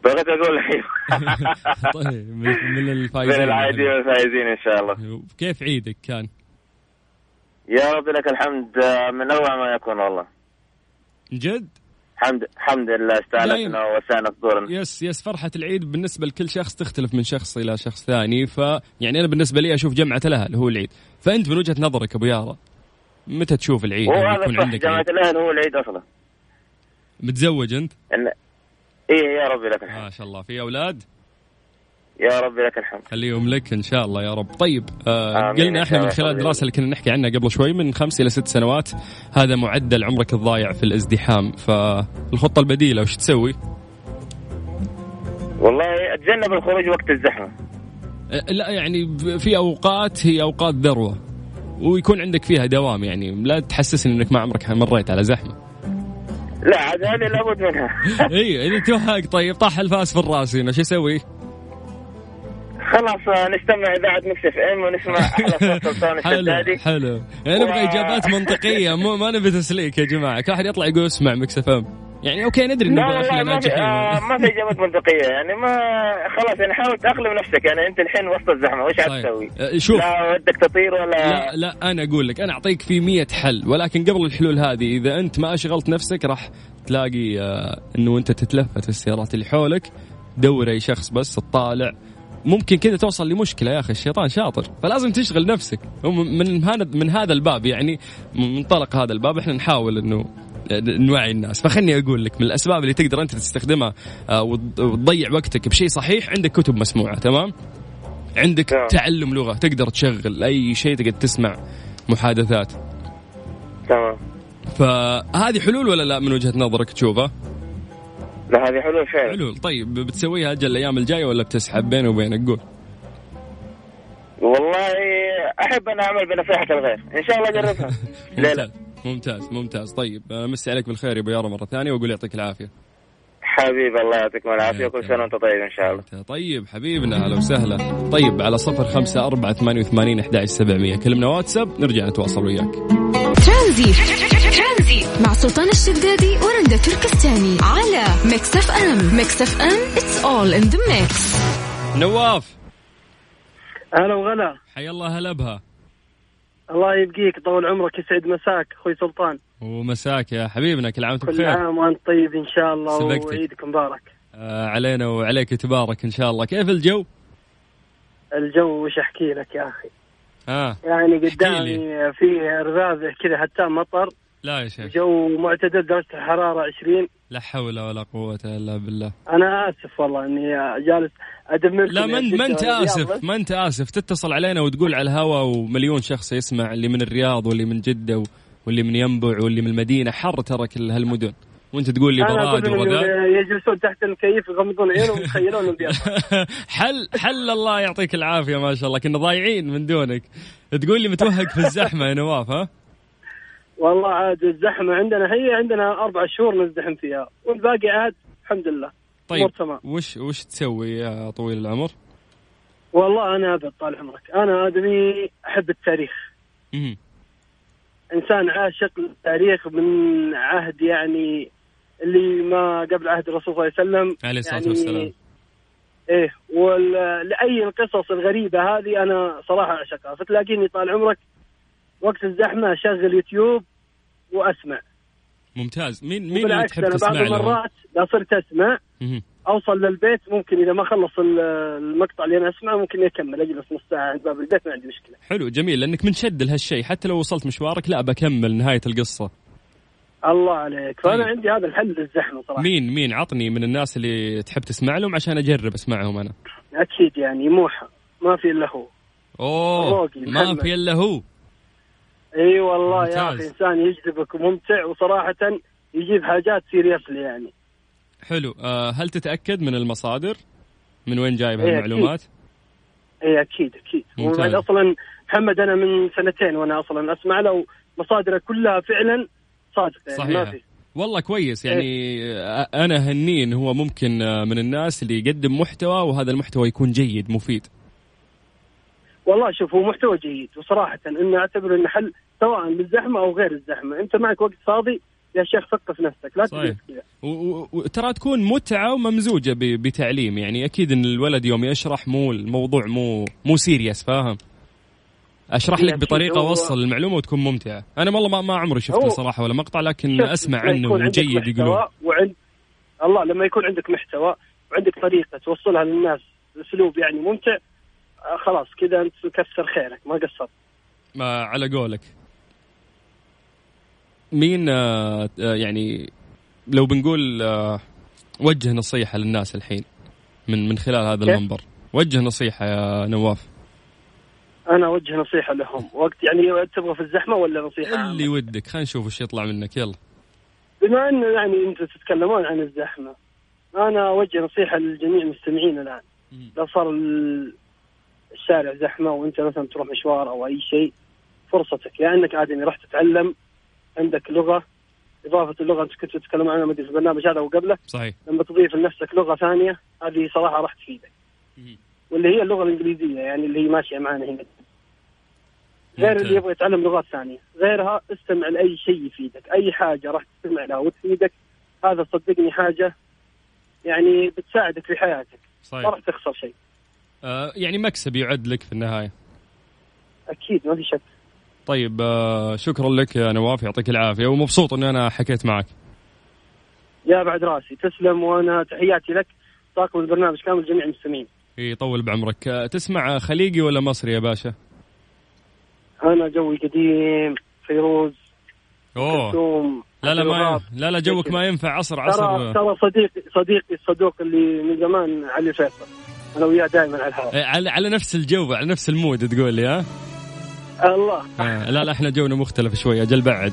I: بغيت اقول ايوه
B: [laughs] طيب من- من
I: بين
B: الفايزين
I: [laughs] العادي والفائزين ان شاء الله
B: كيف عيدك كان؟
I: يا رب لك الحمد آه، من اروع ما يكون والله
B: جد؟
I: حمد حمد لله
B: دايم.
I: استعلتنا وسعنا صدورنا
B: يس يس فرحة العيد بالنسبة لكل شخص تختلف من شخص إلى شخص ثاني ف يعني أنا بالنسبة لي أشوف جمعة الأهل هو العيد فأنت من وجهة نظرك أبو يارا متى تشوف العيد؟
I: وهو
B: يعني
I: هذا
B: يكون
I: الصح
B: عندك
I: جماعة
B: عيد؟
I: الاهل هو العيد اصلا
B: متزوج أنت؟
I: إن... ايه يا ربي لك الحمد
B: ما شاء الله في أولاد؟
I: يا ربي لك الحمد
B: خليهم لك ان شاء الله يا رب طيب آه
I: آمين.
B: قلنا احنا من خلال
I: آمين.
B: الدراسه اللي كنا نحكي عنها قبل شوي من خمس الى ست سنوات هذا معدل عمرك الضايع في الازدحام فالخطه البديله وش تسوي؟
I: والله اتجنب الخروج وقت الزحمه
B: آه، لا يعني ب- في اوقات هي اوقات ذروه ويكون عندك فيها دوام يعني لا تحسسني انك ما عمرك مريت على زحمه
I: لا عاد هذه لابد منها
B: اي اذا توهق طيب طاح الفاس في الراس هنا شو اسوي؟
I: خلاص آه، نستمع اذاعه مكس اف ام
B: [laughs]
I: ونسمع احلى صوت سلطان
B: حلو
I: الشدادي
B: حلو يعني نبغى
I: و-
B: اجابات منطقيه مو ما نبي تسليك يا جماعه كل واحد يطلع يقول اسمع مكس اف ام يعني اوكي ندري
I: لا
B: نبغى
I: والله
B: احنا
I: ما في
B: ناجحين
I: آه ما في اجابات منطقيه يعني ما خلاص يعني حاول تاقلم نفسك يعني انت الحين وسط الزحمه وش
B: طيب.
I: حتسوي؟
B: آه، شوف
I: لا ودك تطير ولا
B: لا لا انا اقول لك انا اعطيك في مية حل ولكن قبل الحلول هذه اذا انت ما اشغلت نفسك راح تلاقي آه، انه انت تتلفت في السيارات اللي حولك دور اي شخص بس تطالع ممكن كذا توصل لمشكله يا اخي الشيطان شاطر فلازم تشغل نفسك ومن- من هذا من هذا الباب يعني من منطلق هذا الباب احنا نحاول انه نوعي الناس فخلني اقول لك من الاسباب اللي تقدر انت تستخدمها آه، وت- وتضيع وقتك بشيء صحيح عندك كتب مسموعه تمام عندك
I: نعم.
B: تعلم لغه تقدر تشغل اي شيء تقدر تسمع محادثات
I: تمام
B: فهذه حلول ولا لا من وجهه نظرك تشوفها
I: لا هذه حلول فعلا
B: حلول طيب بتسويها اجل الايام الجايه ولا بتسحب بيني وبينك قول
I: والله احب ان اعمل بنصيحه الغير ان شاء الله
B: [laughs]
I: اجربها لا لا
B: ممتاز ممتاز ممتاز طيب امسي عليك بالخير يا ابو يارا مره ثانيه واقول يعطيك العافيه
I: حبيبي الله يعطيكم العافيه كل سنه وانت طيب ان شاء الله
B: طيب حبيبنا اهلا وسهلا طيب على صفر خمسة أربعة ثمانية وثمانين أحد سبعمية كلمنا واتساب نرجع نتواصل وياك
A: ترانزيت ترانزيت مع سلطان الشدادي ورندا تركستاني على ميكس اف ام ميكس اف ام اتس اول ان ذا ميكس
B: نواف
E: هلا وغلا
B: حيا الله هلا بها
E: الله يبقيك طول عمرك يسعد مساك اخوي سلطان
B: ومساك يا حبيبنا كل عام وانت
E: كل
B: بخير
E: عام وانت طيب ان شاء الله
B: سبقتك.
E: وعيدك مبارك
B: آه علينا وعليك تبارك ان شاء الله كيف الجو
E: الجو وش احكي لك يا اخي
B: ها
E: يعني
B: احكي
E: قدامي فيه رذاذه كذا حتى مطر
B: لا يا شيخ
E: جو معتدل درجه الحراره 20
B: لا حول ولا قوه الا بالله
E: انا اسف والله اني جالس ادمركم
B: لا
E: يا
B: ما انت
E: جدة
B: ما انت
E: والرياض،
B: اسف
E: بس
B: ما انت اسف تتصل علينا وتقول على الهوا ومليون شخص يسمع اللي من الرياض واللي من جده واللي من ينبع واللي من المدينه حر ترى كل هالمدن وانت تقول لي
E: أنا أقول
B: براد
E: لهم
B: وغثاء
E: إنه يجلسون تحت المكيف يغمضون عينهم ويتخيلون البيض
B: حل حل الله يعطيك العافيه ما شاء الله كنا ضايعين من دونك تقول لي متوهق في الزحمه يا نواف ها
E: والله عاد الزحمه عندنا هي عندنا اربع شهور نزدحم فيها والباقي عاد الحمد لله
B: طيب
E: أمور تمام.
B: وش وش تسوي يا طويل العمر؟
E: والله انا ابد طال عمرك انا ادمي احب التاريخ
B: مهم.
E: انسان عاشق للتاريخ من عهد يعني اللي ما قبل عهد الرسول صلى الله عليه وسلم
B: عليه الصلاه
E: يعني
B: والسلام
E: ايه ولاي القصص الغريبه هذه انا صراحه اعشقها فتلاقيني طال عمرك وقت الزحمه اشغل يوتيوب واسمع
B: ممتاز مين مين اللي
E: بالعكس
B: تحب
E: انا
B: تسمع
E: بعض
B: له؟
E: المرات اذا صرت اسمع
B: مهم.
E: اوصل للبيت ممكن اذا ما خلص ال- المقطع اللي انا اسمعه ممكن اكمل اجلس نص ساعه عند باب البيت ما عندي مشكله
B: حلو جميل لانك منشد لهالشيء حتى لو وصلت مشوارك لا بكمل نهايه القصه
E: الله عليك فانا
B: طيب.
E: عندي هذا الحل للزحمه صراحه
B: مين مين عطني من الناس اللي تحب تسمع لهم عشان اجرب اسمعهم انا
E: اكيد يعني موحى ما في الا هو
B: اوه
E: الراقي،
B: ما
E: محمد.
B: في الا هو
E: اي والله يا
B: ممتاز.
E: اخي انسان يجذبك وممتع وصراحه يجيب حاجات سيريسلي يعني
B: حلو آه هل تتاكد من المصادر من وين جايب
E: إيه،
B: هالمعلومات
E: اي اكيد اكيد
B: طيب، ممتاز.
E: وبعد اصلا محمد انا من سنتين وانا اصلا اسمع له مصادره كلها فعلا صادقه يعني ما
B: صحيح.
E: في
B: والله كويس يعني آه، انا هني إن هو ممكن آه، من الناس اللي يقدم محتوى وهذا المحتوى يكون جيد مفيد
E: والله شوف هو محتوى جيد وصراحه انه اعتبره انه حل سواء بالزحمه او غير الزحمه انت معك وقت فاضي يا شيخ ثقف نفسك لا
B: صحيح.
E: تجلس كذا
B: وترى تكون متعه وممزوجه ب- بتعليم يعني اكيد ان الولد يوم يشرح مو الموضوع مو مو سيريس فاهم اشرح لك
E: أكيد،
B: بطريقه
E: هو-
B: اوصل المعلومه وتكون ممتعه انا والله ما, ما عمري شفته
E: هو-
B: صراحه ولا مقطع لكن
E: شوف،
B: اسمع
E: لما يكون
B: عنه
E: عندك
B: جيد
E: محتوى
B: يقولون
E: وعند الله لما يكون عندك محتوى وعندك طريقه توصلها للناس اسلوب يعني ممتع آه، خلاص كذا انت مكسر خيرك ما قصرت
B: ما على قولك مين آه، آه، يعني لو بنقول آه، وجه نصيحة للناس الحين من من خلال هذا المنبر وجه نصيحة يا نواف
E: انا اوجه نصيحه لهم وقت يعني تبغى في الزحمه ولا نصيحه عامة؟
B: اللي ودك خلينا نشوف وش يطلع منك يلا
E: بما انه يعني انتم تتكلمون عن الزحمه انا اوجه نصيحه للجميع المستمعين الان
B: مم.
E: اذا صار ال- الشارع زحمه وانت مثلا تروح مشوار او اي شيء فرصتك يا انك ادمي راح تتعلم عندك لغه اضافه اللغه انت كنت تتكلم عنها ما أدري في البرنامج هذا وقبله
B: صحيح
E: لما تضيف لنفسك لغه ثانيه هذه صراحه راح تفيدك
B: مم.
E: واللي هي اللغه الانجليزيه يعني اللي هي ماشيه معنا هنا غير
B: ممتاز.
E: اللي يبغى يتعلم لغات ثانيه غيرها استمع لاي شيء يفيدك اي حاجه راح تستمع لها وتفيدك هذا صدقني حاجه يعني بتساعدك في حياتك ما
B: صحيح
E: راح تخسر شيء
B: آه، يعني مكسب يعد لك في النهاية
E: اكيد ما في شك
B: طيب آه، شكرا لك يا نواف يعطيك العافية ومبسوط اني انا حكيت معك
E: يا بعد راسي تسلم وانا تحياتي لك طاقم البرنامج كامل جميع المستمعين
B: يطول بعمرك آه، تسمع خليجي ولا مصري يا باشا
E: انا جوي قديم فيروز
B: اوه
E: كلثوم
B: لا لا ما
E: عبد
B: لا لا جوك ما ينفع عصر
E: ترى
B: عصر
E: ترى صديقي صديقي الصدوق اللي من زمان علي فيصل انا وياه دائما على الهواء
B: إيه، على على نفس الجو على نفس المود تقول لي ها
E: الله
B: آه، لا لا احنا جونا مختلف شوي اجل بعد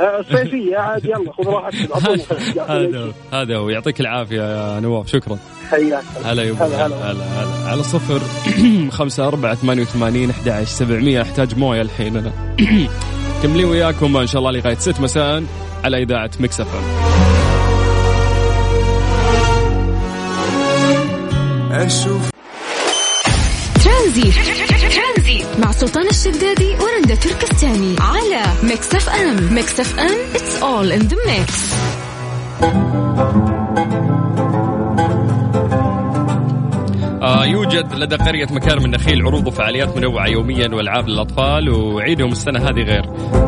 E: آه، الصيفيه عاد يلا خذ
B: [laughs]
E: راحتك أعطوني خلاص.
B: هذا هو هذا هو يعطيك العافيه يا نواف شكرا
E: حياك
B: هلا يا أبو
E: هلا،
B: هلا
E: هلا.
B: هلا هلا على صفر [clears throat] خمسة أربعة ثمانية وثمانين أحد عشر سبعمية أحتاج موية الحين أنا [clears throat] كملي وياكم إن شاء الله لغاية ست مساء على إذاعة مكسفة
J: أشوف
A: ترانزي مع سلطان الشدادي ورندا تركستاني على ميكس اف ام ميكس اف ام اتس اول ان ذا ميكس
B: آه، يوجد لدى قرية مكارم النخيل عروض وفعاليات منوعة يوميا والعاب للأطفال وعيدهم السنة هذه غير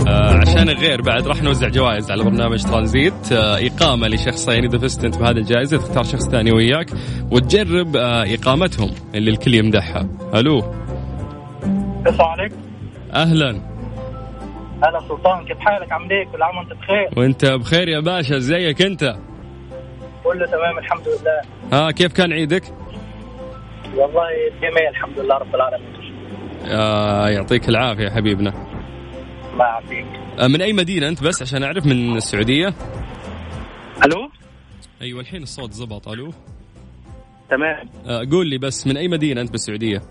B: آه، عشان الغير بعد راح نوزع جوائز على برنامج ترانزيت آه، إقامة لشخصين إذا فزت أنت بهذه الجائزة تختار شخص ثاني وياك وتجرب آه، إقامتهم اللي الكل يمدحها ألو
K: السلام عليكم
B: أهلا
K: هلا سلطان كيف حالك عامل ايه كل عام وانت بخير
B: وأنت بخير يا باشا زيك أنت
K: كله تمام الحمد لله
B: ها كيف كان عيدك؟
K: والله جميل الحمد لله رب العالمين
B: آه، يعطيك العافية يا حبيبنا
K: الله يعافيك
B: آه، من أي مدينة أنت بس عشان أعرف من السعودية؟
K: الو
B: أيوة الحين الصوت زبط ألو
K: تمام
B: آه، قول لي بس من اي مدينه انت بالسعوديه؟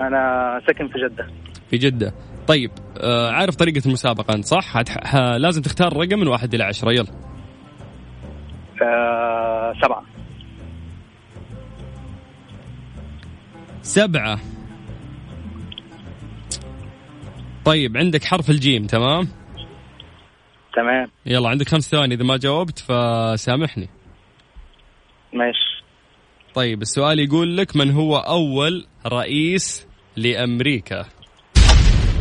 K: انا ساكن في جده
B: في جده. طيب آه، عارف طريقه المسابقه انت صح؟ هتح... ه... لازم تختار رقم من واحد الى عشره يلا.
K: آه سبعه
B: سبعه. طيب عندك حرف الجيم تمام؟
K: تمام
B: يلا عندك خمس ثواني اذا ما جاوبت فسامحني.
K: ماشي
B: طيب السؤال يقول لك من هو اول رئيس لامريكا؟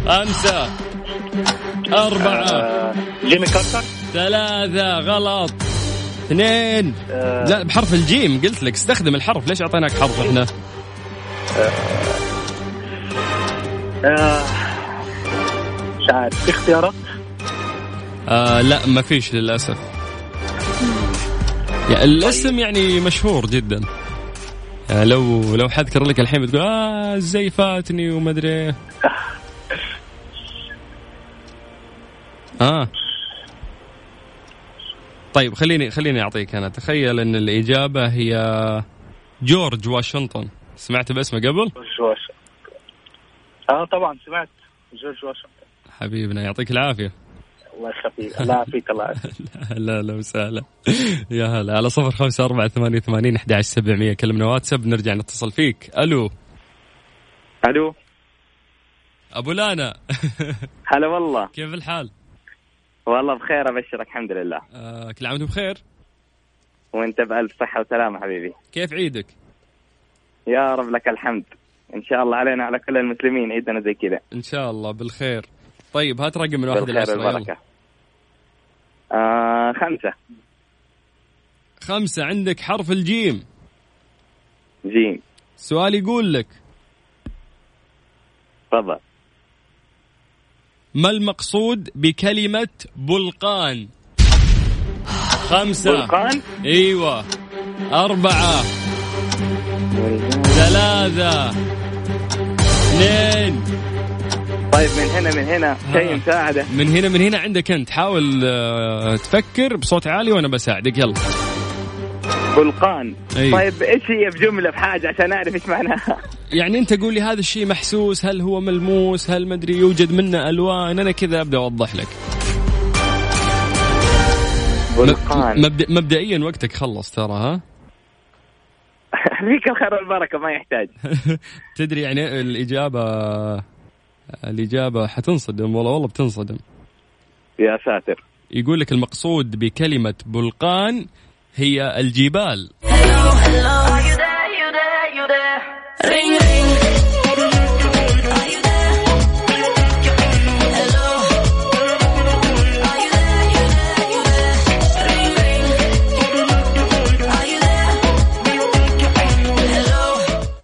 B: خمسه اربعه
K: آه جيمي كارتر
B: ثلاثه غلط اثنين
K: آه
B: لا بحرف الجيم قلت لك استخدم الحرف ليش اعطيناك حرف احنا
K: آه، مش عارف في اختيارات
B: آه لا ما فيش للاسف يعني الاسم يعني مشهور جدا يعني لو لو حد كرر لك الحين بتقول اه زي فاتني وما ادري إيه. اه طيب خليني خليني اعطيك انا تخيل ان الاجابه هي جورج واشنطن سمعت باسمه قبل
K: جورج واشنطن
I: آه،
K: اه طبعا سمعت جورج واشنطن
B: حبيبنا يعطيك العافيه
K: الله يخليك الله يعافيك الله يعافيك
B: هلا هلا وسهلا يا هلا على صفر خمسة أربعة ثمانية وثمانين أحد عشر سبعمية كلمنا واتساب نرجع نتصل فيك ألو
K: الو
B: [laughs] أبو لانا [laughs]
K: هلا والله
B: كيف الحال؟
I: والله بخير ابشرك الحمد لله
B: آه كل عام وانتم بخير
I: وانت بالف صحه وسلامه حبيبي
B: كيف عيدك
I: يا رب لك الحمد ان شاء الله علينا على كل المسلمين عيدنا زي كذا
B: ان شاء الله بالخير طيب هات رقم من واحد
I: بالخير
B: الى عشرة يلا
I: والبركة. آه خمسه
B: خمسة عندك حرف الجيم
I: جيم
B: سؤال يقول لك
I: تفضل
B: ما المقصود بكلمة بلقان خمسة
I: بلقان؟
B: ايوه أربعة ثلاثة اثنين آه.
I: طيب من هنا من هنا شيء مساعده
B: من هنا من هنا عندك انت حاول آه، تفكر بصوت عالي وانا بساعدك يلا
I: بلقان
B: أي.
I: طيب ايش هي بجمله بحاجه عشان اعرف ايش معناها [laughs]
B: يعني انت قول لي هذا الشيء محسوس هل هو ملموس هل مدري يوجد منه الوان انا كذا ابدا اوضح لك
I: بلقان
B: مبدأ مبدئيا وقتك خلص ترى ها
I: فيك الخير والبركه ما
K: [laughs]
I: يحتاج
B: تدري يعني الاجابه الاجابه حتنصدم والله والله بتنصدم
I: يا ساتر
B: يقول لك المقصود بكلمه بلقان هي الجبال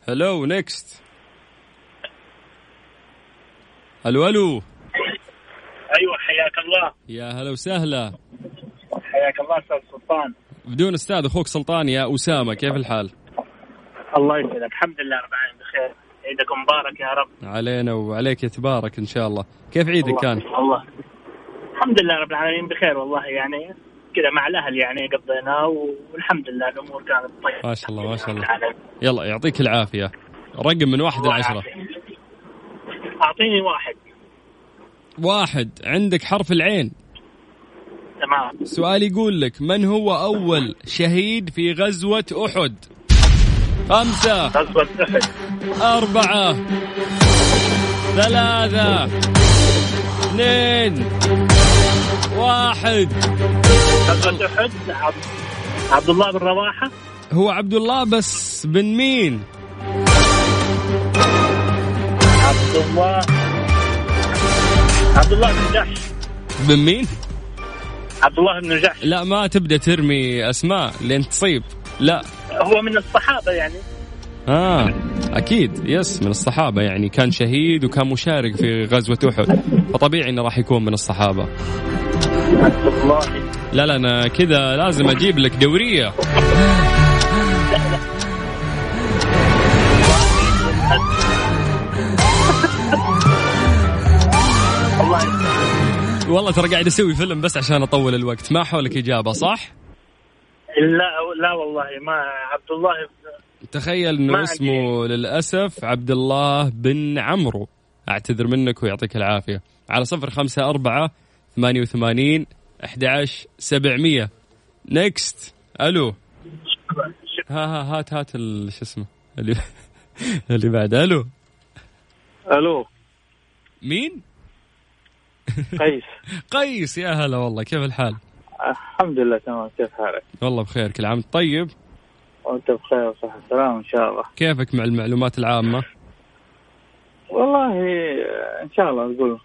B: هلو نيكست الو الو
K: ايوه حياك الله
B: يا هلا وسهلا
K: حياك الله استاذ سلطان
B: بدون استاذ اخوك سلطان يا اسامه كيف الحال؟
K: الله يسعدك الحمد لله رب العالمين بخير عيدكم مبارك يا رب
B: علينا وعليك تبارك ان شاء الله، كيف عيدك
K: الله-
B: كان؟
K: الله الحمد لله رب العالمين بخير والله يعني كذا مع الاهل يعني قضيناه والحمد لله الامور كانت طيبه
B: ما شاء الله ما شاء الله
K: العالمين.
B: يلا يعطيك العافيه رقم من واحد
K: الله
B: لعشره
K: يعافيك. اعطيني واحد
B: واحد عندك حرف العين
K: تمام
B: سؤال يقول لك من هو اول شهيد في غزوه احد؟ خمسه
K: غزوة احد
B: أربعة ثلاثة اثنين واحد
K: غزوة احد عبد, عبد الله بن رواحه
B: هو عبد الله بس بن مين؟
K: عبد الله عبد الله بن جحش
B: بن مين؟
K: عبد الله بن جحش
B: لا ما تبدا ترمي اسماء لين تصيب لا
K: هو من الصحابه يعني
B: اه اكيد يس من الصحابه يعني كان شهيد وكان مشارك في غزوه احد فطبيعي انه راح يكون من الصحابه
K: عبد الله
B: لا لا انا كذا لازم اجيب لك دوريه
K: الله يسلمك.
B: والله ترى قاعد اسوي فيلم بس عشان اطول الوقت ما حولك اجابه صح
K: لا لا والله ما عبد الله بن
B: تخيل انه
K: ما
B: اسمه للاسف عبد الله بن عمرو اعتذر منك ويعطيك العافيه على صفر خمسة أربعة ثمانية وثمانين أحد عشر سبعمية نيكست ألو ها ها هات هات ال- شو اسمه اللي اللي بعد ألو
K: الو
B: مين
K: قيس
B: [laughs] قيس يا هلا والله كيف الحال
K: الحمد لله تمام كيف حالك؟
B: والله بخير كل عام وأنت طيب
K: وانت بخير وصحة وسلامة ان شاء الله
B: كيفك مع المعلومات العامة
K: والله آه، ان شاء الله نقول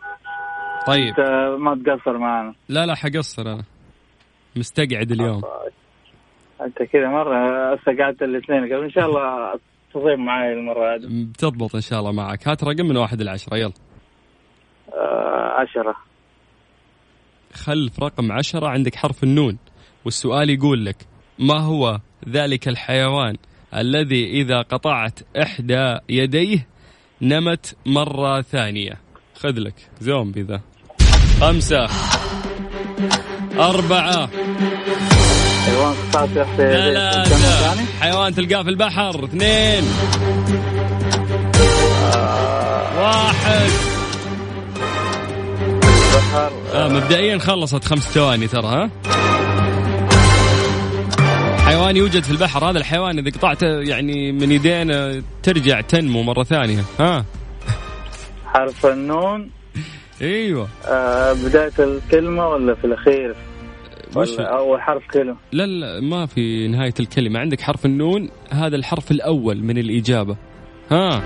B: طيب
K: انت ما تقصر معنا
B: لا لا حقصر أنا مستقعد اليوم
K: أه، انت كذا مرة استقعدت الاثنين قبل ان شاء الله تضيم معي المرة هذه
B: بتضبط ان شاء الله معك هات رقم من واحد لعشرة يلا
K: آه، عشرة
B: خلف رقم عشرة عندك حرف النون والسؤال يقول لك ما هو ذلك الحيوان الذي إذا قطعت إحدى يديه نمت مرة ثانية خذ لك زومبي ذا خمسة أربعة
K: حيوان قطعت تحت يديه.
B: ثلاثة حيوان تلقاه في البحر اثنين واحد آه مبدئيا خلصت خمس ثواني ترى ها حيوان يوجد في البحر هذا الحيوان اذا قطعته يعني من يدين آه، ترجع تنمو مره ثانيه ها
K: حرف النون
B: ايوه
L: آه بداية الكلمة ولا في الأخير؟
B: وش
L: ولا أول حرف كلمة
B: لا لا ما في نهاية الكلمة عندك حرف النون هذا الحرف الأول من الإجابة ها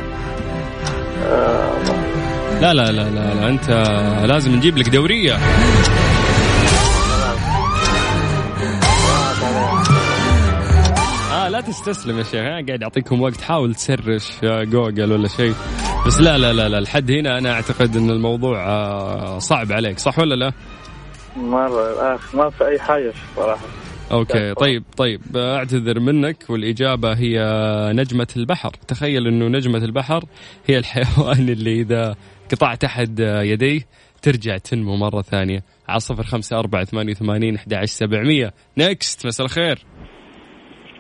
B: لا لا لا لا, لا. أنت لازم نجيب لك دورية آه لا تستسلم يا شيخ أنا قاعد أعطيكم وقت حاول تسرش آه، جوجل ولا شيء بس لا لا لا لا لحد هنا أنا أعتقد أن الموضوع آه، صعب عليك صح ولا لا؟
L: مرة الأخ ما في أي حاجة صراحة
B: اوكي طيب طيب اعتذر منك والاجابه هي نجمه البحر تخيل انه نجمه البحر هي الحيوان [laughs] اللي اذا قطعت احد يديه ترجع تنمو مره ثانيه على صفر خمسه اربعه ثمانيه وثمانين احدى عشر سبعمئه نكست مساء الخير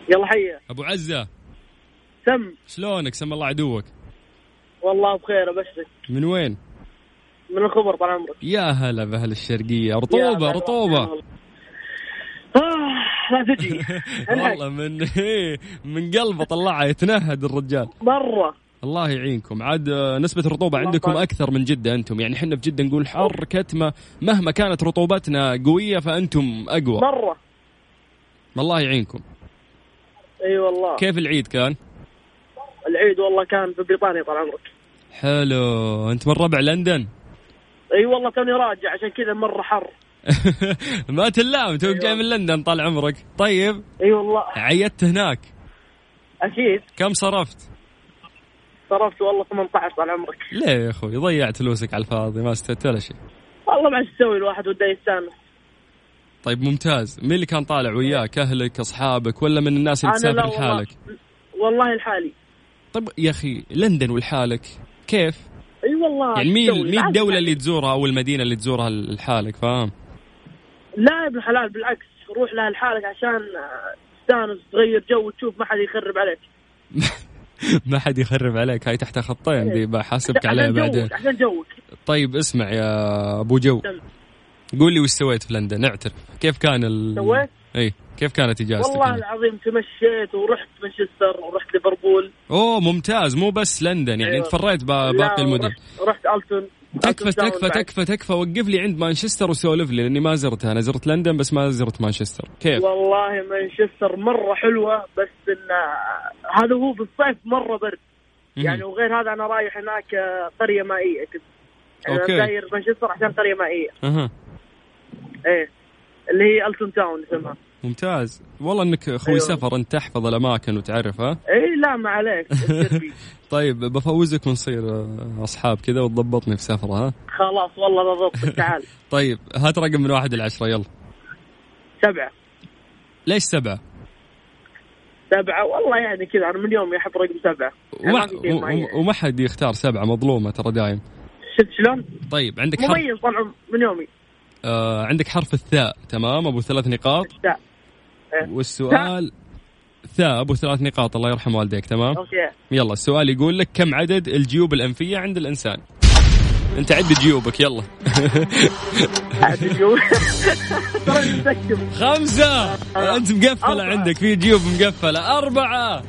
M: يلا حيا
B: ابو عزه
M: سم
B: شلونك سم الله عدوك
M: والله بخير ابشرك
B: من وين
M: من الخبر طال عمرك
B: يا هلا باهل الشرقيه
M: يا
B: رطوبه
M: هلا
B: رطوبه
M: والله. آه، لا تجي الحق.
B: [laughs] والله من من قلبه طلعها يتنهد الرجال
M: مره
B: الله يعينكم عاد آه، نسبة الرطوبة عندكم أكثر من جدة أنتم يعني حنا في جدة نقول حر كتمة مهما كانت رطوبتنا قوية فأنتم أقوى
M: مره
B: الله يعينكم
M: اي والله
B: كيف العيد كان؟
M: العيد والله كان في بريطانيا طال عمرك
B: حلو أنت من ربع لندن
M: اي والله توني راجع عشان كذا مره حر
B: ما تلام توك جاي من لندن طال عمرك طيب
M: اي أيوة. والله
B: عيدت هناك
M: اكيد
B: كم صرفت؟
M: صرفت والله 18 طال عمرك
B: ليه يا أخوي ضيعت فلوسك على الفاضي ما استفدت ولا شيء
M: والله ما ايش يسوي الواحد وده يستانس
B: طيب ممتاز مين اللي كان طالع وياك أهلك أصحابك ولا من الناس اللي
M: أنا لا
B: تسافر
M: والله.
B: لحالك؟
M: والله الحالي
B: طيب يا أخي لندن ولحالك كيف؟
M: اي والله
B: يعني مين
M: تسوي؟
B: مين
M: بالعكس.
B: الدولة اللي تزورها أو المدينة اللي تزورها لحالك فاهم؟ [laughs]
M: لا يا ابن الحلال بالعكس روح لها لحالك عشان آه، تستانس تغير جو وتشوف ما حد يخرب عليك
B: ما حد يخرب عليك هاي تحت
M: إيه.
B: خطين دي بحاسبك
M: عشان
B: عليها
M: جوك،
B: بعدين
M: عشان جوك
B: طيب اسمع يا أبو جو قول لي وش سويت في لندن اعترف كيف كان ال
M: سويت؟
B: اي كيف كانت اجازتك؟
M: والله
B: هناك؟
M: العظيم تمشيت ورحت مانشستر ورحت ليفربول
B: اوه ممتاز مو بس لندن يعني
M: أيوة.
B: انت فريت با-
M: لا،
B: باقي المدن
M: ورحت- رحت التون
B: تكفى
M: ألتون تاون
B: تكفى
M: بعد.
B: تكفى تكفى وقف لي عند مانشستر وسولف لي لاني ما زرتها انا زرت لندن بس ما زرت مانشستر كيف؟
M: والله مانشستر مره حلوه بس ان آه، هذا هو في الصيف مره برد
B: مهم.
M: يعني وغير هذا انا رايح هناك آه، قريه مائيه كنت انا
B: أوكي.
M: يعني داير مانشستر عشان قريه مائيه
B: اها
M: ايه اللي هي التون تاون اسمها
B: ممتاز والله انك اخوي
M: أيوة.
B: سفر انت تحفظ الاماكن وتعرف ها؟
M: اي إيه، لا ما
B: [laughs]
M: عليك
B: طيب بفوزك ونصير آه، اصحاب كذا وتضبطني في سفره ها؟
M: خلاص والله بضبطك تعال
B: طيب هات رقم من واحد لعشره يلا
M: سبعه
B: ليش سبعه؟
M: سبعه والله يعني كذا انا من يومي احط رقم سبعه يعني
B: وما,
M: ما في شيء معين.
B: و- وما حد يختار سبعه مظلومه ترى دايم
M: شفت شلون؟
B: طيب عندك حرف
M: مميز طلع من يومي
B: آه عندك حرف الثاء تمام ابو ثلاث نقاط
M: لا إيه.
B: والسؤال ثاء ابو ثلاث نقاط الله يرحم والديك تمام
M: اوكي
B: يلا السؤال يقول لك كم عدد الجيوب الانفيه عند الانسان انت عد جيوبك يلا
M: عد الجيوب ترى متكتب
B: خمسة انت مقفله عندك في جيوب مقفله اربعه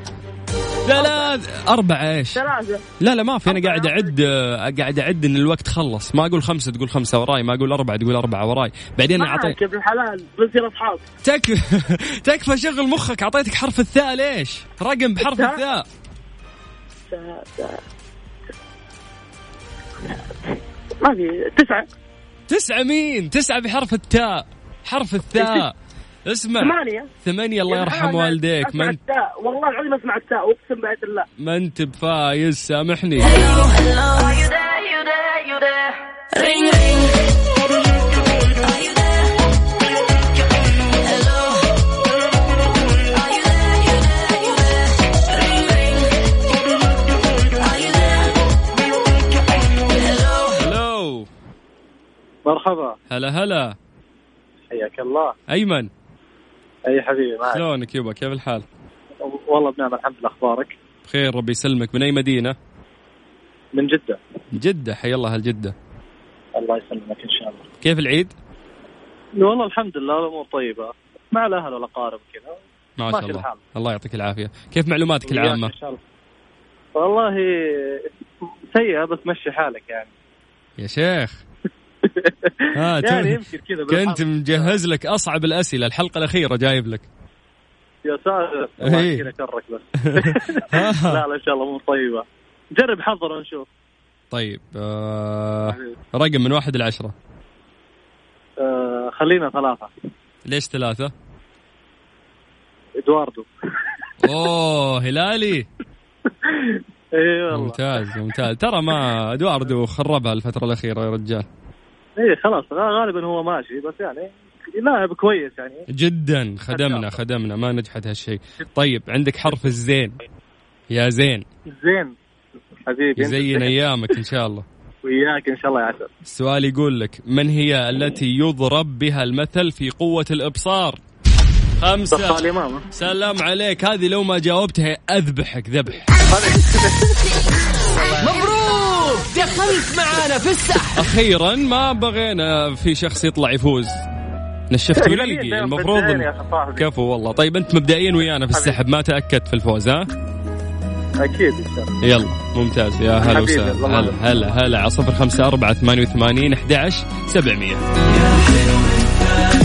B: ثلاث أربعة إيش؟
M: ثلاثة
B: لا لا ما في أنا قاعد أعد آه، قاعد أعد إن الوقت خلص ما أقول خمسة تقول خمسة وراي ما أقول أربعة تقول أربعة وراي بعدين أنا أعطيك
M: معك يا ابن الحلال بنصير اصحاب
B: تكفى [laughs] تكفى شغل مخك اعطيتك حرف الثاء ليش؟ رقم بحرف
M: الثاء؟
B: الثاء
M: تا- تا- ما في تسعة
B: تسعة مين؟ تسعة بحرف التاء حرف الثاء اسمع
M: ثمانية.
B: ثمانية الله
M: يا ابن
B: يرحم
M: الحلال،
B: والديك
M: اسمع
B: ما انت
M: التاء والله العظيم اسمع التاء واقسم بآية الله
B: ما انت بفايز سامحني هلو
E: مرحبا
B: هلا هلا
E: حياك الله
B: ايمن
E: اي حبيبي معك
B: شلونك يبا كيف الحال؟
E: والله بنعم الحمد لله اخبارك
B: بخير ربي يسلمك من اي مدينة؟
E: من جده
B: جدة حي الله هالجدة
E: الله يسلمك ان شاء الله
B: كيف العيد؟
E: والله الحمد لله الامور طيبه مع الاهل والاقارب كذا
B: ما شاء
E: ماشي
B: الله
E: الحال.
B: الله يعطيك العافية كيف معلوماتك
E: وياك
B: العامة؟
E: إن شاء الله. والله سيئه بس مشي حالك يعني [laughs]
B: يا شيخ آه
E: يعني
B: تو-
E: يمكن كذا بالحظ.
B: كنت مجهز لك اصعب الاسئله الحلقه الاخيره جايب
E: [laughs]
B: لك
E: يا ساتر
B: إيه.
E: الله يسكنك شرك بس
B: [laughs]
E: لا لا ان شاء الله امور طيبه جرب حظر ونشوف
B: طيب آه رقم من واحد لعشرة
E: آه خلينا ثلاثه
B: ليش ثلاثة؟
E: ادواردو
B: اوه
E: [laughs]
B: هلالي
E: اي إيه، والله
B: ممتاز ممتاز ترى ما ادواردو خربها الفترة الأخيرة يا رجال
E: اي إيه، خلاص غ- غالبا هو ماشي بس يعني لاعب كويس يعني
B: جدا خدمنا خدمنا ما
E: [laughs]
B: نجحت هالشيء طيب عندك حرف الزين يا زين
E: زين حبيبي أنت
B: يزين
E: زين.
B: ايامك ان شاء الله
E: وياك ان شاء الله يا عسل
B: السؤال يقول لك من هي التي يضرب بها المثل في قوة الإبصار خمسة سلام عليك هذه لو ما جاوبتها أذبحك ذبح
N: مبروك دخلت معانا في السحب
B: أخيرا ما بغينا في شخص يطلع يفوز نشفت
N: لا،
B: وريقي
N: لا،
B: المفروض
N: بالدين نعم، يا أخي صاحبي.
B: كفو والله طيب أنت مبدئيا ويانا في السحب ما تأكدت في الفوز ها
E: اكيد ان شاء الله
B: يلا ممتاز يا هلا
E: حبيبي،
B: وسهلا
E: الله
B: هلا هلا هلا على صفر خمسة أربعة ثمانية وثمانين أحد عشر سبعمية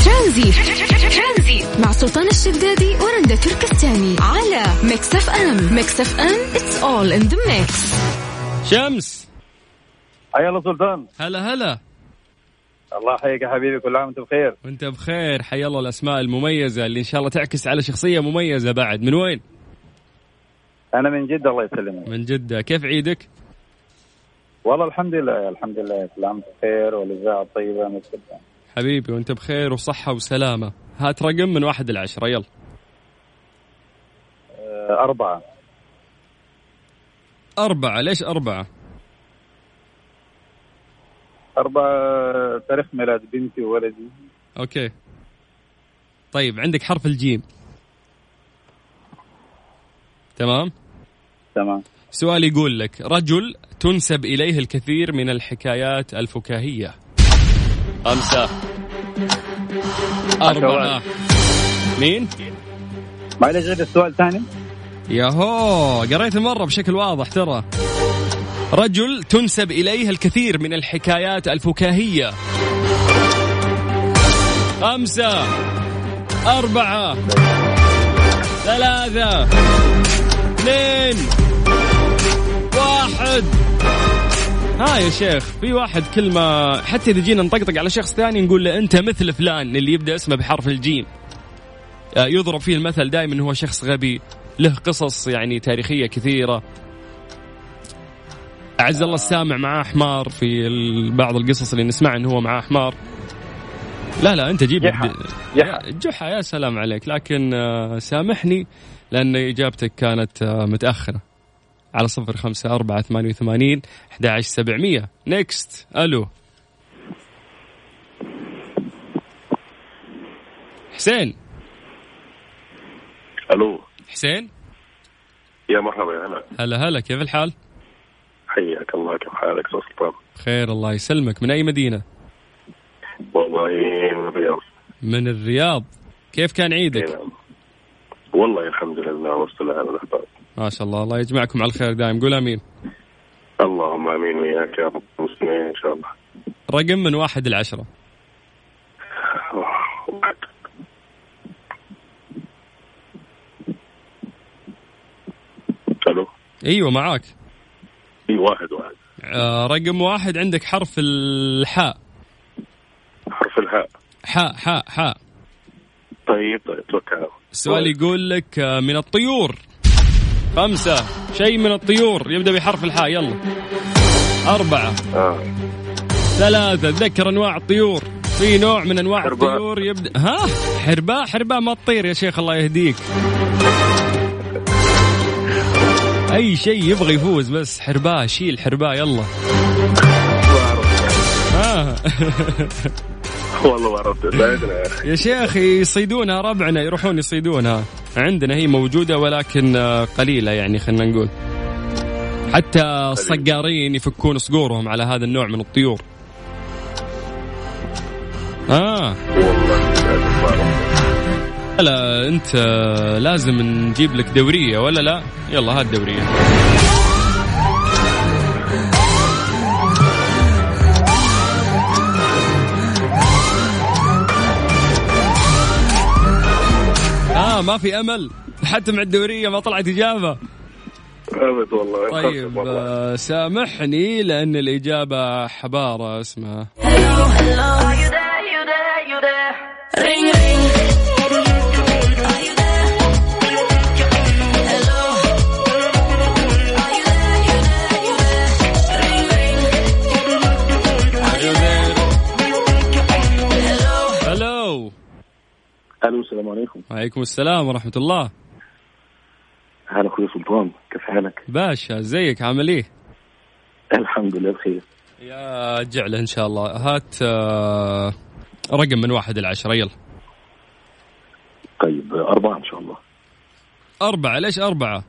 A: ترانزي ترانزي مع سلطان الشدادي ورندا تركستاني على ميكس اف ام ميكس اف ام اتس اول ان ذا ميكس
B: شمس
O: حيا الله سلطان
B: هلا هلا
O: الله يحييك يا حبيبي كل عام وانت بخير
B: وانت بخير حيا الله الاسماء المميزه اللي ان شاء الله تعكس على شخصيه مميزه بعد من وين
O: انا من جده الله يسلمك
B: من جده كيف عيدك
O: والله الحمد لله الحمد لله كل عام وانت بخير والاذاعه طيبه ما تكلم.
B: حبيبي وانت بخير وصحه وسلامه هات رقم من واحد لعشرة يلا
O: آه، اربعه
B: أربعة ليش أربعة
O: اربعه تاريخ ميلاد بنتي وولدي
B: أوكي طيب عندك حرف الجيم تمام
O: تمام
B: سؤال يقول لك رجل تنسب إليه الكثير من الحكايات الفكاهية خمسة أربعة مين؟
O: معلش غير السؤال ثاني
B: ياهو قريت المرة بشكل واضح ترى رجل تنسب إليه الكثير من الحكايات الفكاهية خمسة أربعة ثلاثة اثنين واحد ها يا شيخ في واحد كل ما حتى إذا جينا نطقطق على شخص ثاني نقول له أنت مثل فلان اللي يبدأ اسمه بحرف الجيم آه، يضرب فيه المثل دائما هو شخص غبي له قصص يعني تاريخية كثيرة أعز الله السامع معاه حمار في ال- بعض القصص اللي نسمع إنه هو معاه حمار لا لا أنت جيب
O: جحا.
B: جحا جحا يا سلام عليك لكن آه، سامحني لأن إجابتك كانت آه، متأخرة على صفر خمسة أربعة ثمانية وثمانين أحد عشر سبعمية نيكست ألو حسين
P: الو
B: حسين
P: يا مرحبا يا هلا
B: هلا هلا كيف الحال؟
P: حياك الله كيف حالك استاذ سلطان
B: خير الله يسلمك من أي مدينة؟
P: والله من الرياض
B: من الرياض كيف كان عيدك؟
P: والله الحمد لله والصلاه على الاخبار
B: ما شاء الله الله يجمعكم على الخير دائم قول آمين
P: اللهم امين وياك يا رب المسلمين ان شاء الله
B: رقم من واحد لعشرة
P: الو
B: أيوة معاك
P: في واحد واحد
B: آه رقم واحد عندك حرف الحاء
P: حرف الهاء
B: حاء حاء حاء
P: طيب طيب توكل
B: السؤال يقول لك آه، من الطيور خمسة شيء من الطيور يبدأ بحرف الحاء يلا أربعة
P: آه.
B: ثلاثة تذكر أنواع الطيور في نوع من أنواع الطيور يبدأ ها حرباء حرباء ما تطير يا شيخ الله يهديك أي شيء يبغى يفوز بس حرباء شيل حرباء يلا ها
P: والله ما عرفت ساعدنا يا اخي
B: يا شيخ يصيدونها ربعنا يروحون يصيدونها عندنا هي موجودة ولكن آه، قليلة يعني خلينا نقول حتى الصقارين يفكون صقورهم على هذا النوع من الطيور آه لا انت آه، لازم نجيب لك دورية ولا لا يلا هات دورية آه، ما في امل حتى مع الدوريه ما طلعت اجابه
P: ابد والله
B: طيب آه، سامحني لان الاجابه حباره اسمها الو
Q: الو السلام عليكم
B: وعليكم السلام ورحمه الله
Q: هلا اخوي سلطان كيف حالك؟
B: باشا ازيك عامل ايه؟
Q: الحمد لله بخير
B: يا جعله ان شاء الله هات آه، رقم من واحد إلى عشرة يلا
Q: طيب أربعة إن شاء الله
B: أربعة ليش أربعة؟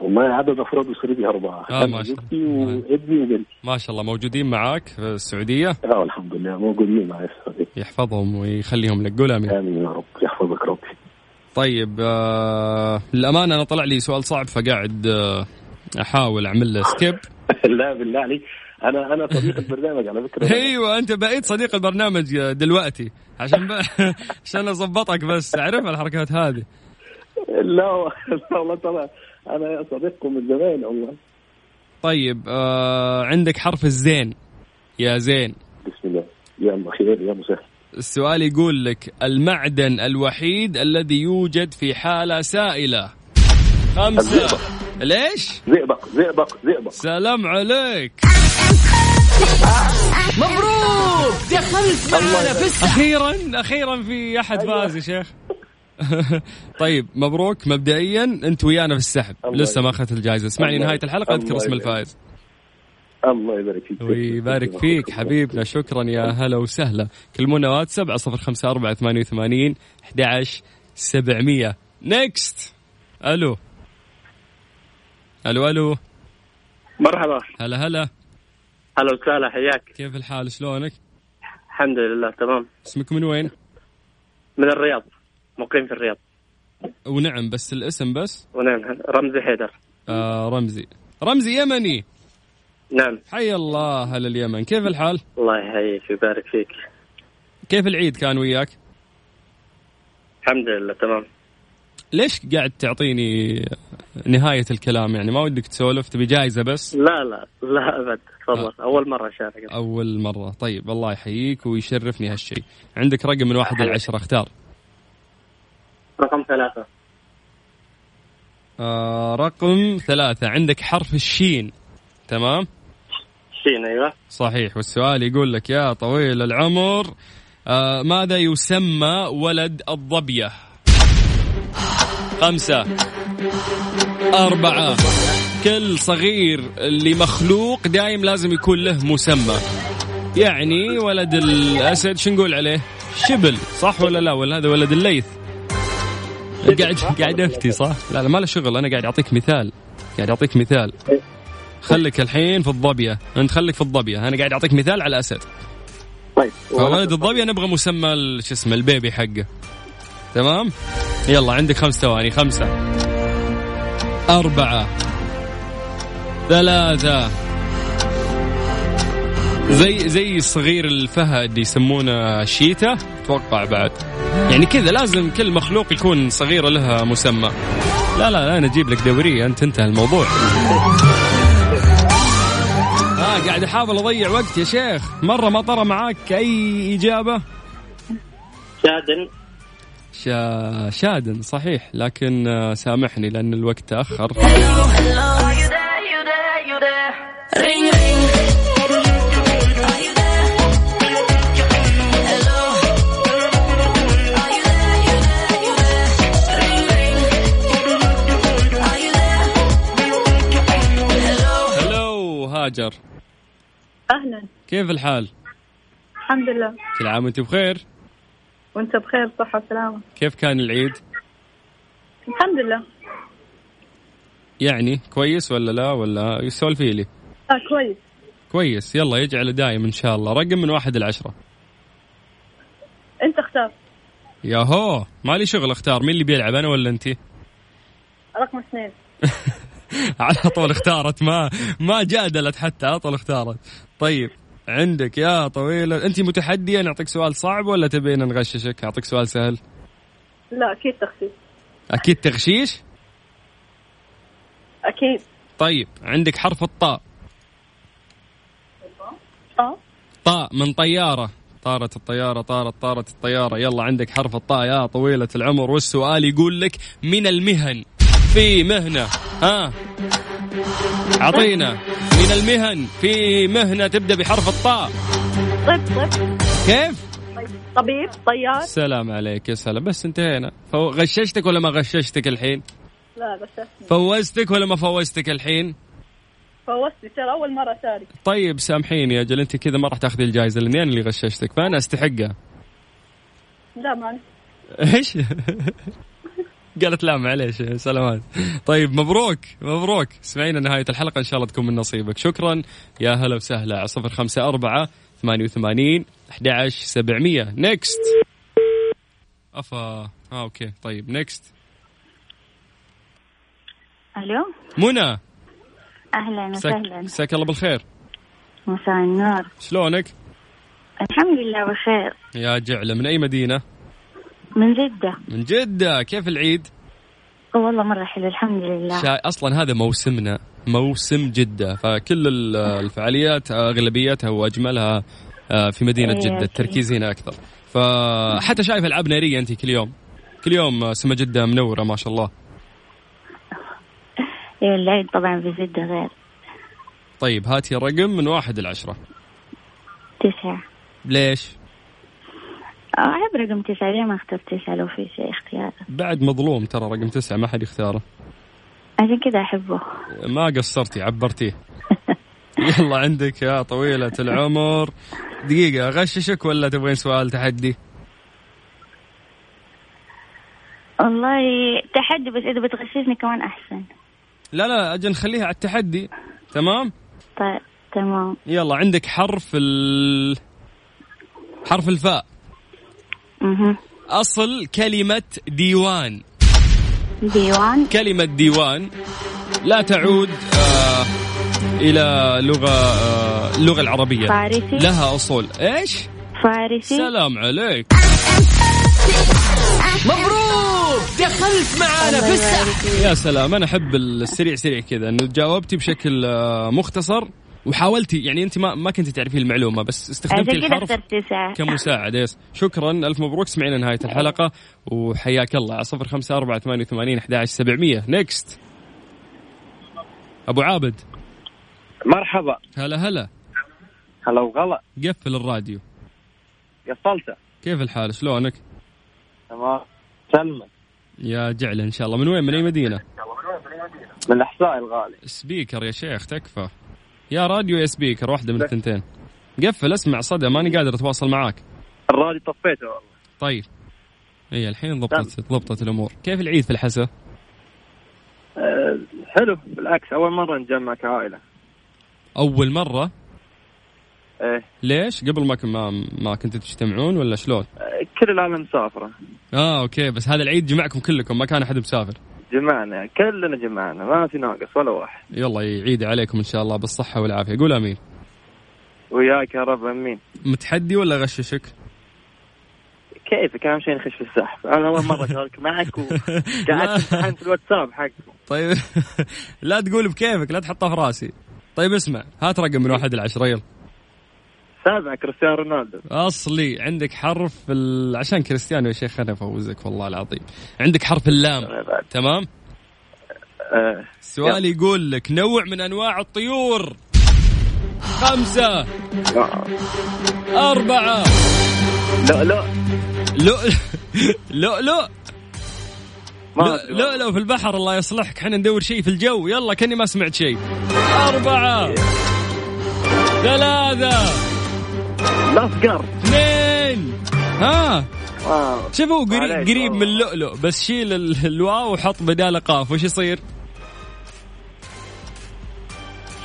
Q: والله عدد أفراد أسرتي أربعة
B: آه،
Q: أنا
B: ما شاء
Q: زوجتي وابني وبنتي
B: ما شاء الله موجودين معاك في السعودية؟
Q: اه الحمد لله موجودين معي
B: يحفظهم ويخليهم لك قول آمين
Q: آمين يا رب يحفظك ربي
B: طيب آه للأمانة أنا طلع لي سؤال صعب فقاعد آه أحاول أعمل له
Q: [laughs]
B: سكيب
Q: [laughs] لا بالله عليك أنا أنا صديق البرنامج على فكرة
B: ايوه انت بقيت صديق البرنامج آه، دلوقتي عشان ب... [laughs] عشان اظبطك بس اعرف الحركات هذه
Q: لا [laughs] لا والله طبعا أنا صديقكم من زمان والله
B: طيب آه عندك حرف الزين يا زين
Q: بسم الله يلا خير يا مسهل
B: السؤال يقول لك المعدن الوحيد الذي يوجد في حالة سائلة خمسة ليش؟
Q: زئبق زئبق زئبق
B: سلام عليك
N: مبروك دخلت معنا في السحب
B: اخيرا اخيرا في احد
Q: أيوة.
B: فاز يا شيخ طيب مبروك مبدئيا انت ويانا في السحب
Q: الله
B: لسه ما اخذت الجائزه اسمعني
Q: الله
B: نهايه الحلقه اذكر
Q: الله
B: اسم
Q: يبارك.
B: الفائز
Q: الله يبارك فيك
B: ويبارك فيك حبيبنا شكرا يا هلا وسهلا كلمونا واتساب على صفر خمسة أربعة ثمانية وثمانين أحد سبعمية نيكست ألو ألو ألو
R: مرحبا
B: هلا هلا
R: هلا وسهلا حياك
B: كيف الحال شلونك
R: الحمد لله تمام
B: اسمك من وين
R: من الرياض مقيم في الرياض
B: ونعم بس الاسم بس
R: ونعم رمزي حيدر
B: آه رمزي رمزي يمني
R: نعم
B: حي الله هلا اليمن كيف الحال
R: الله يحييك ويبارك فيك
B: كيف العيد كان وياك
R: الحمد لله تمام
B: ليش قاعد تعطيني نهاية الكلام يعني ما ودك تسولف تبي جايزة بس
R: لا لا لا ابد
S: آه.
R: تفضل اول مره اشارك
B: أول مرة طيب الله يحييك ويشرفني هالشيء عندك رقم من واحد إلى عشرة اختار
R: رقم ثلاثة
B: آه رقم ثلاثة عندك حرف الشين تمام
R: شين ايوه
B: صحيح والسؤال يقول لك يا طويل العمر آه ماذا يسمى ولد الظبية خمسة أربعة كل صغير اللي مخلوق دايم لازم يكون له مسمى يعني ولد الأسد شو نقول عليه شبل صح ولا لا ولا هذا ولد الليث قاعد قاعد افتي صح؟ لا لا ما له شغل انا قاعد اعطيك مثال قاعد اعطيك مثال خليك الحين في الظبيه انت خليك في الظبيه انا قاعد اعطيك مثال على الاسد
R: طيب
B: فولد الظبيه نبغى مسمى ال- شو اسمه البيبي حقه تمام يلا عندك خمس ثواني خمسه اربعه ثلاثه زي زي صغير الفهد يسمونه شيتا اتوقع بعد يعني كذا لازم كل مخلوق يكون صغيره لها مسمى لا لا لا انا اجيب لك دوريه انت انتهى الموضوع ها آه، قاعد احاول اضيع وقت يا شيخ مره ما طرى معاك اي اجابه
R: شادن
B: شا... شادن صحيح لكن آه، سامحني لان الوقت تاخر هلو هاجر
T: اهلا
B: كيف الحال
T: الحمد لله
B: كل عام وانت بخير
T: وانت بخير صحة وسلامة
B: كيف كان العيد
T: الحمد لله
B: يعني كويس ولا لا ولا سولفي لي
T: آه كويس
B: كويس يلا يجعله دايم ان شاء الله رقم من واحد لعشرة
T: انت اختار
B: ياهو مالي شغل اختار مين اللي بيلعب انا ولا انت
T: رقم اثنين
B: [laughs] على طول اختارت ما ما جادلت حتى على طول اختارت طيب عندك يا طويلة انت متحدية نعطيك سؤال صعب ولا تبين نغششك اعطيك سؤال سهل
T: لا لا اكيد تخفيف
B: اكيد تغشيش
T: اكيد
B: طيب عندك حرف الطاء
T: اه
B: طاء من طيارة طارت الطيارة طارت طارت الطيارة يلا عندك حرف الطاء يا طويلة العمر والسؤال يقول لك من المهن في مهنة ها أعطينا من المهن في مهنة تبدأ بحرف الطاء
T: طب طب
B: كيف؟
T: طبيب طيب، طيار
B: سلام عليك يا سلام بس انتهينا فو- غششتك ولا ما غششتك الحين؟
T: لا غششني
B: فوزتك ولا ما فوزتك الحين؟
T: فوزتي ترى اول مره اشارك
B: طيب سامحيني يا اجل انت كذا ما راح تاخذي الجائزه لاني انا اللي غششتك فانا استحقها
T: لا معلش
B: ايش؟ [laughs] قالت لا معليش سلامات طيب مبروك مبروك اسمعينا نهاية الحلقة إن شاء الله تكون من نصيبك شكرا يا هلا وسهلا على صفر خمسة أربعة ثمانية وثمانين أحد عشر سبعمية نيكست أفا آه أوكي طيب نيكست
U: الو
B: منى
U: اهلا
B: مساك
U: وسهلا
B: مساك الله بالخير
U: مساء النور
B: شلونك
U: الحمد لله بخير
B: يا جعلة من أي مدينة
U: من جدة
B: من جدة كيف العيد
U: والله مرة حلو الحمد لله
B: شا... اصلا هذا موسمنا موسم جده فكل ال- الفعاليات اغلبيتها واجملها آه، في مدينه
U: إيه،
B: جده
U: أكيد.
B: التركيز هنا اكثر فحتى شايف العاب ناريه انت كل يوم كل يوم آه، سما جده منوره ما شاء الله
U: إيه، العيد طبعا في جدة غير
B: طيب هاتي رقم من واحد لعشرة
U: تسعة
B: ليش
U: آه، أحب رقم تسعة ليه ما اخترت تسعة لو في شيء اختيار
B: بعد مظلوم ترى رقم تسعة ما حد يختاره
U: عشان كذا أحبه
B: ما قصرتي عبرتيه يلا عندك يا طويلة العمر دقيقة أغششك ولا تبغين سؤال تحدي؟
U: والله تحدي بس إذا بتغششني كمان أحسن
B: لا لا أجل نخليها على التحدي تمام؟
U: طيب تمام
B: يلا عندك حرف ال حرف الفاء
U: مهم.
B: أصل كلمة ديوان
U: ديوان
B: كلمة ديوان لا تعود آه إلى لغة آه اللغة العربية
U: فارسي.
B: لها أصول إيش؟
U: فارسي
B: سلام عليك
N: مبروك دخلت معانا في السحب
B: يا سلام أنا أحب السريع سريع كذا إنه جاوبتي بشكل آه مختصر وحاولتي يعني أنت ما ما كنت تعرفي المعلومة بس
U: عشان
B: استخدمتي
U: كذا
B: الحرف
U: اخترت تسعة
B: كمساعدة يس شكرا ألف مبروك سمعنا نهاية الحلقة وحياك الله على صفر خمسة أربعة ثمانية وثمانين أحد سبعمية نيكست أبو عابد
S: مرحبا
B: هلا هلا
S: هلا وغلا
B: قفل الراديو
S: قفلته
B: كيف الحال شلونك
S: تمام سلمى
B: يا جعل إن شاء الله من وين من أي مدينة
S: من الاحساء الغالي
B: سبيكر يا شيخ تكفى يا راديو يا سبيكر واحدة من الثنتين قفل اسمع صدى ماني قادر أتواصل معاك
S: الرادي طفيته والله
B: طيب اي الحين ضبطت
S: نعم.
B: ضبطت الامور كيف العيد في الحسا
S: أه حلو بالعكس اول مره نجمع كعائله
B: اول مره
S: ايه
B: ليش قبل ما كن- ما, ما كنتوا تجتمعون ولا شلون
S: أه، كل العالم مسافره
B: اه اوكي بس هذا العيد جمعكم كلكم ما كان احد مسافر
S: جمعنا كلنا جمعنا ما في ناقص ولا واحد
B: يلا يعيد عليكم ان شاء الله بالصحه والعافيه قول امين
S: وياك يا رب امين
B: متحدي ولا غششك
S: كيفك اهم شيء نخش في السحب انا اول مره اشارك معك
B: [laughs]
S: وقعدت امتحن في الواتساب حقكم
B: طيب لا تقول بكيفك لا تحطها في راسي طيب اسمع هات رقم من واحد لعشرة يلا
S: سابع كريستيانو رونالدو
B: اصلي عندك حرف ال... عشان كريستيانو يا شيخ انا افوزك والله العظيم عندك حرف اللام تمام
S: أه
B: السؤال يقول لك نوع من انواع الطيور خمسة أربعة
S: لا لا
B: لؤلؤ لؤلؤ
S: ما
B: لؤ-
S: أدري والله.
B: لؤلؤ في البحر الله يصلحك احنا ندور شيء في الجو يلا كاني ما سمعت شيء أربعة ثلاثة
S: لا فقر
B: اثنين ها
S: واو.
B: شوفوا قريب
S: معليش
B: قريب من
S: والله.
B: اللؤلؤ بس شيل ال- الواو وحط بداله قاف وش يصير؟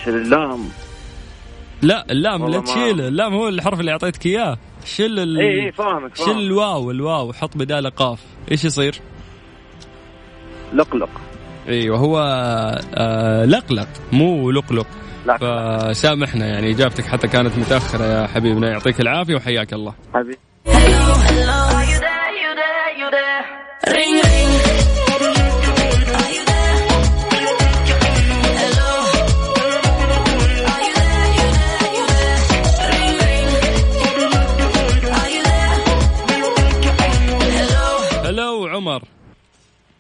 S: شلام
B: لا اللام
S: والله
B: لا
S: ما-
B: تشيله اللام هو الحرف اللي اعطيتك اياه شل ال...
S: إيه، إيه، فاهمك،
B: شل
S: فاهمك.
B: الواو الواو وحط بداله قاف ايش يصير؟
S: لقلق
B: ايوه هو آه لقلق مو لقلق فسامحنا يعني اجابتك حتى كانت متاخره يا حبيبنا يعطيك العافيه وحياك الله
S: حبيبي
N: Ring
B: عمر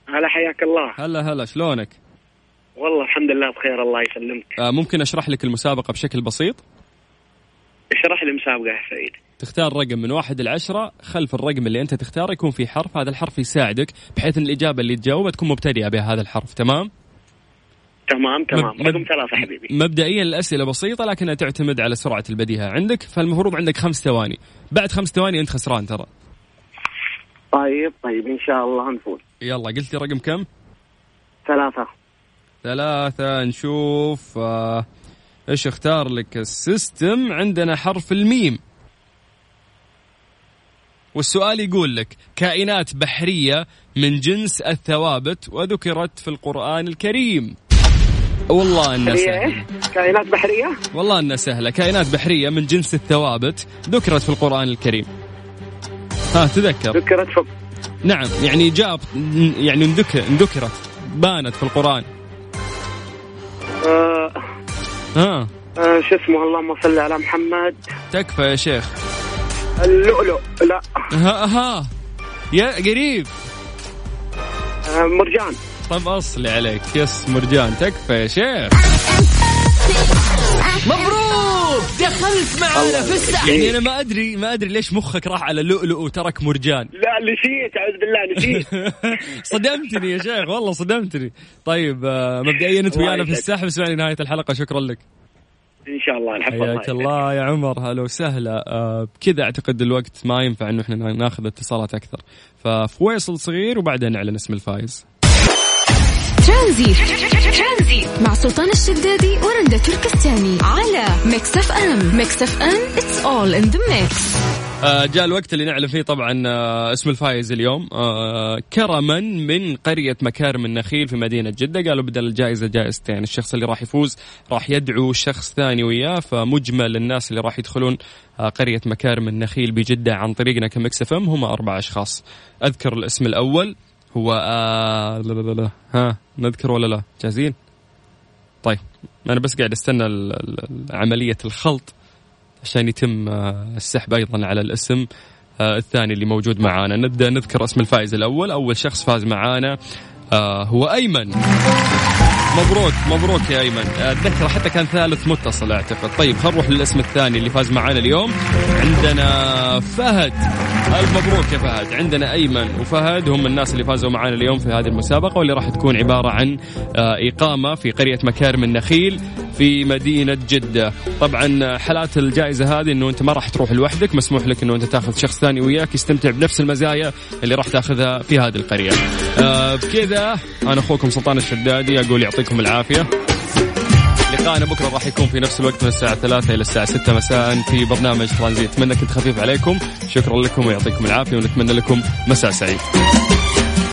C: هلا حياك الله
B: هلا هلا شلونك
C: والله الحمد لله بخير الله يسلمك
B: آه، ممكن اشرح لك المسابقه بشكل بسيط
C: اشرح لي المسابقه يا سعيد
B: تختار رقم من واحد لعشرة خلف الرقم اللي انت تختاره يكون في حرف هذا الحرف يساعدك بحيث ان الاجابه اللي تجاوبها تكون مبتدئه بهذا الحرف تمام
C: تمام تمام
B: مب-
C: رقم ثلاثة حبيبي
B: مبدئيا الاسئله بسيطه لكنها تعتمد على سرعه البديهه عندك فالمفروض عندك خمس ثواني بعد خمس ثواني انت خسران ترى
C: طيب طيب ان شاء الله نفوز
B: يلا قلت لي رقم كم
C: ثلاثة
B: ثلاثة نشوف آه، ايش اختار لك السيستم عندنا حرف الميم والسؤال يقول لك كائنات بحرية من جنس الثوابت وذكرت في القرآن الكريم والله انها
K: إيه،
B: سهلة
C: كائنات بحرية
B: والله انها سهلة كائنات بحرية من جنس الثوابت ذكرت في القرآن الكريم ها تذكر
C: ذكرت في
B: نعم يعني جاء يعني انذكر انذكرت بانت في القرآن
C: آه
B: ها
C: آه شو اسمه اللهم صل على محمد
B: تكفى يا شيخ
C: اللؤلؤ لا
B: ها ها يا قريب
C: آه مرجان
B: طب اصلي عليك يس مرجان تكفى يا شيخ
N: مبروك دخلت معانا في السحب
B: يعني انا ما ادري ما ادري ليش مخك راح على لؤلؤ وترك مرجان
C: [laughs] لا نسيت اعوذ بالله نسيت
B: [laughs] صدمتني يا شيخ والله صدمتني طيب آه، مبدئيا انت
C: الله
B: ويانا في
C: يسعدك.
B: السحب اسمعني نهايه الحلقه شكرا لك
C: ان شاء الله الحفظ
B: حياك الله يا عمر هلا وسهلا آه، بكذا اعتقد الوقت ما ينفع انه احنا ناخذ اتصالات اكثر ففويصل صغير وبعدها نعلن اسم الفايز
A: ترانزي مع سلطان الشدادي ورندا تركستاني على ميكس اف ام ميكس اف ام اتس اول ان ذا ميكس
B: آه، جاء الوقت اللي نعلن فيه طبعا آه، اسم الفائز اليوم آه، كرما من قرية مكارم النخيل في مدينة جدة قالوا بدل الجائزة جائزتين الشخص اللي راح يفوز راح يدعو شخص ثاني وياه فمجمل الناس اللي راح يدخلون آه، قرية مكارم النخيل بجدة عن طريقنا كمكس اف ام هم أربع أشخاص أذكر الاسم الأول هو آه لا لا لا لا ها نذكر ولا لا جاهزين طيب أنا بس قاعد أستنى ال- ال- ال- عملية الخلط عشان يتم آه، السحب ايضا على الاسم آه، الثاني اللي موجود معانا نبدا نذكر اسم الفائز الاول اول شخص فاز معانا آه، هو ايمن مبروك مبروك يا ايمن آه، اتذكر حتى كان ثالث متصل اعتقد طيب خلينا نروح للاسم الثاني اللي فاز معانا اليوم عندنا فهد الف مبروك يا فهد عندنا ايمن وفهد هم الناس اللي فازوا معانا اليوم في هذه المسابقه واللي راح تكون عباره عن آه، اقامه في قريه مكارم النخيل في مدينه جده طبعا حالات الجائزه هذه انه انت ما راح تروح لوحدك مسموح لك انه انت تاخذ شخص ثاني وياك يستمتع بنفس المزايا اللي راح تاخذها في هذه القريه آه، بكذا انا اخوكم سلطان الشدادي اقول يعطيكم العافيه لقاءنا بكره راح يكون في نفس الوقت من الساعه 3 الى الساعه 6 مساء في برنامج ترانزيت اتمنى كنت خفيف عليكم شكرا لكم ويعطيكم العافيه ونتمنى لكم مساء سعيد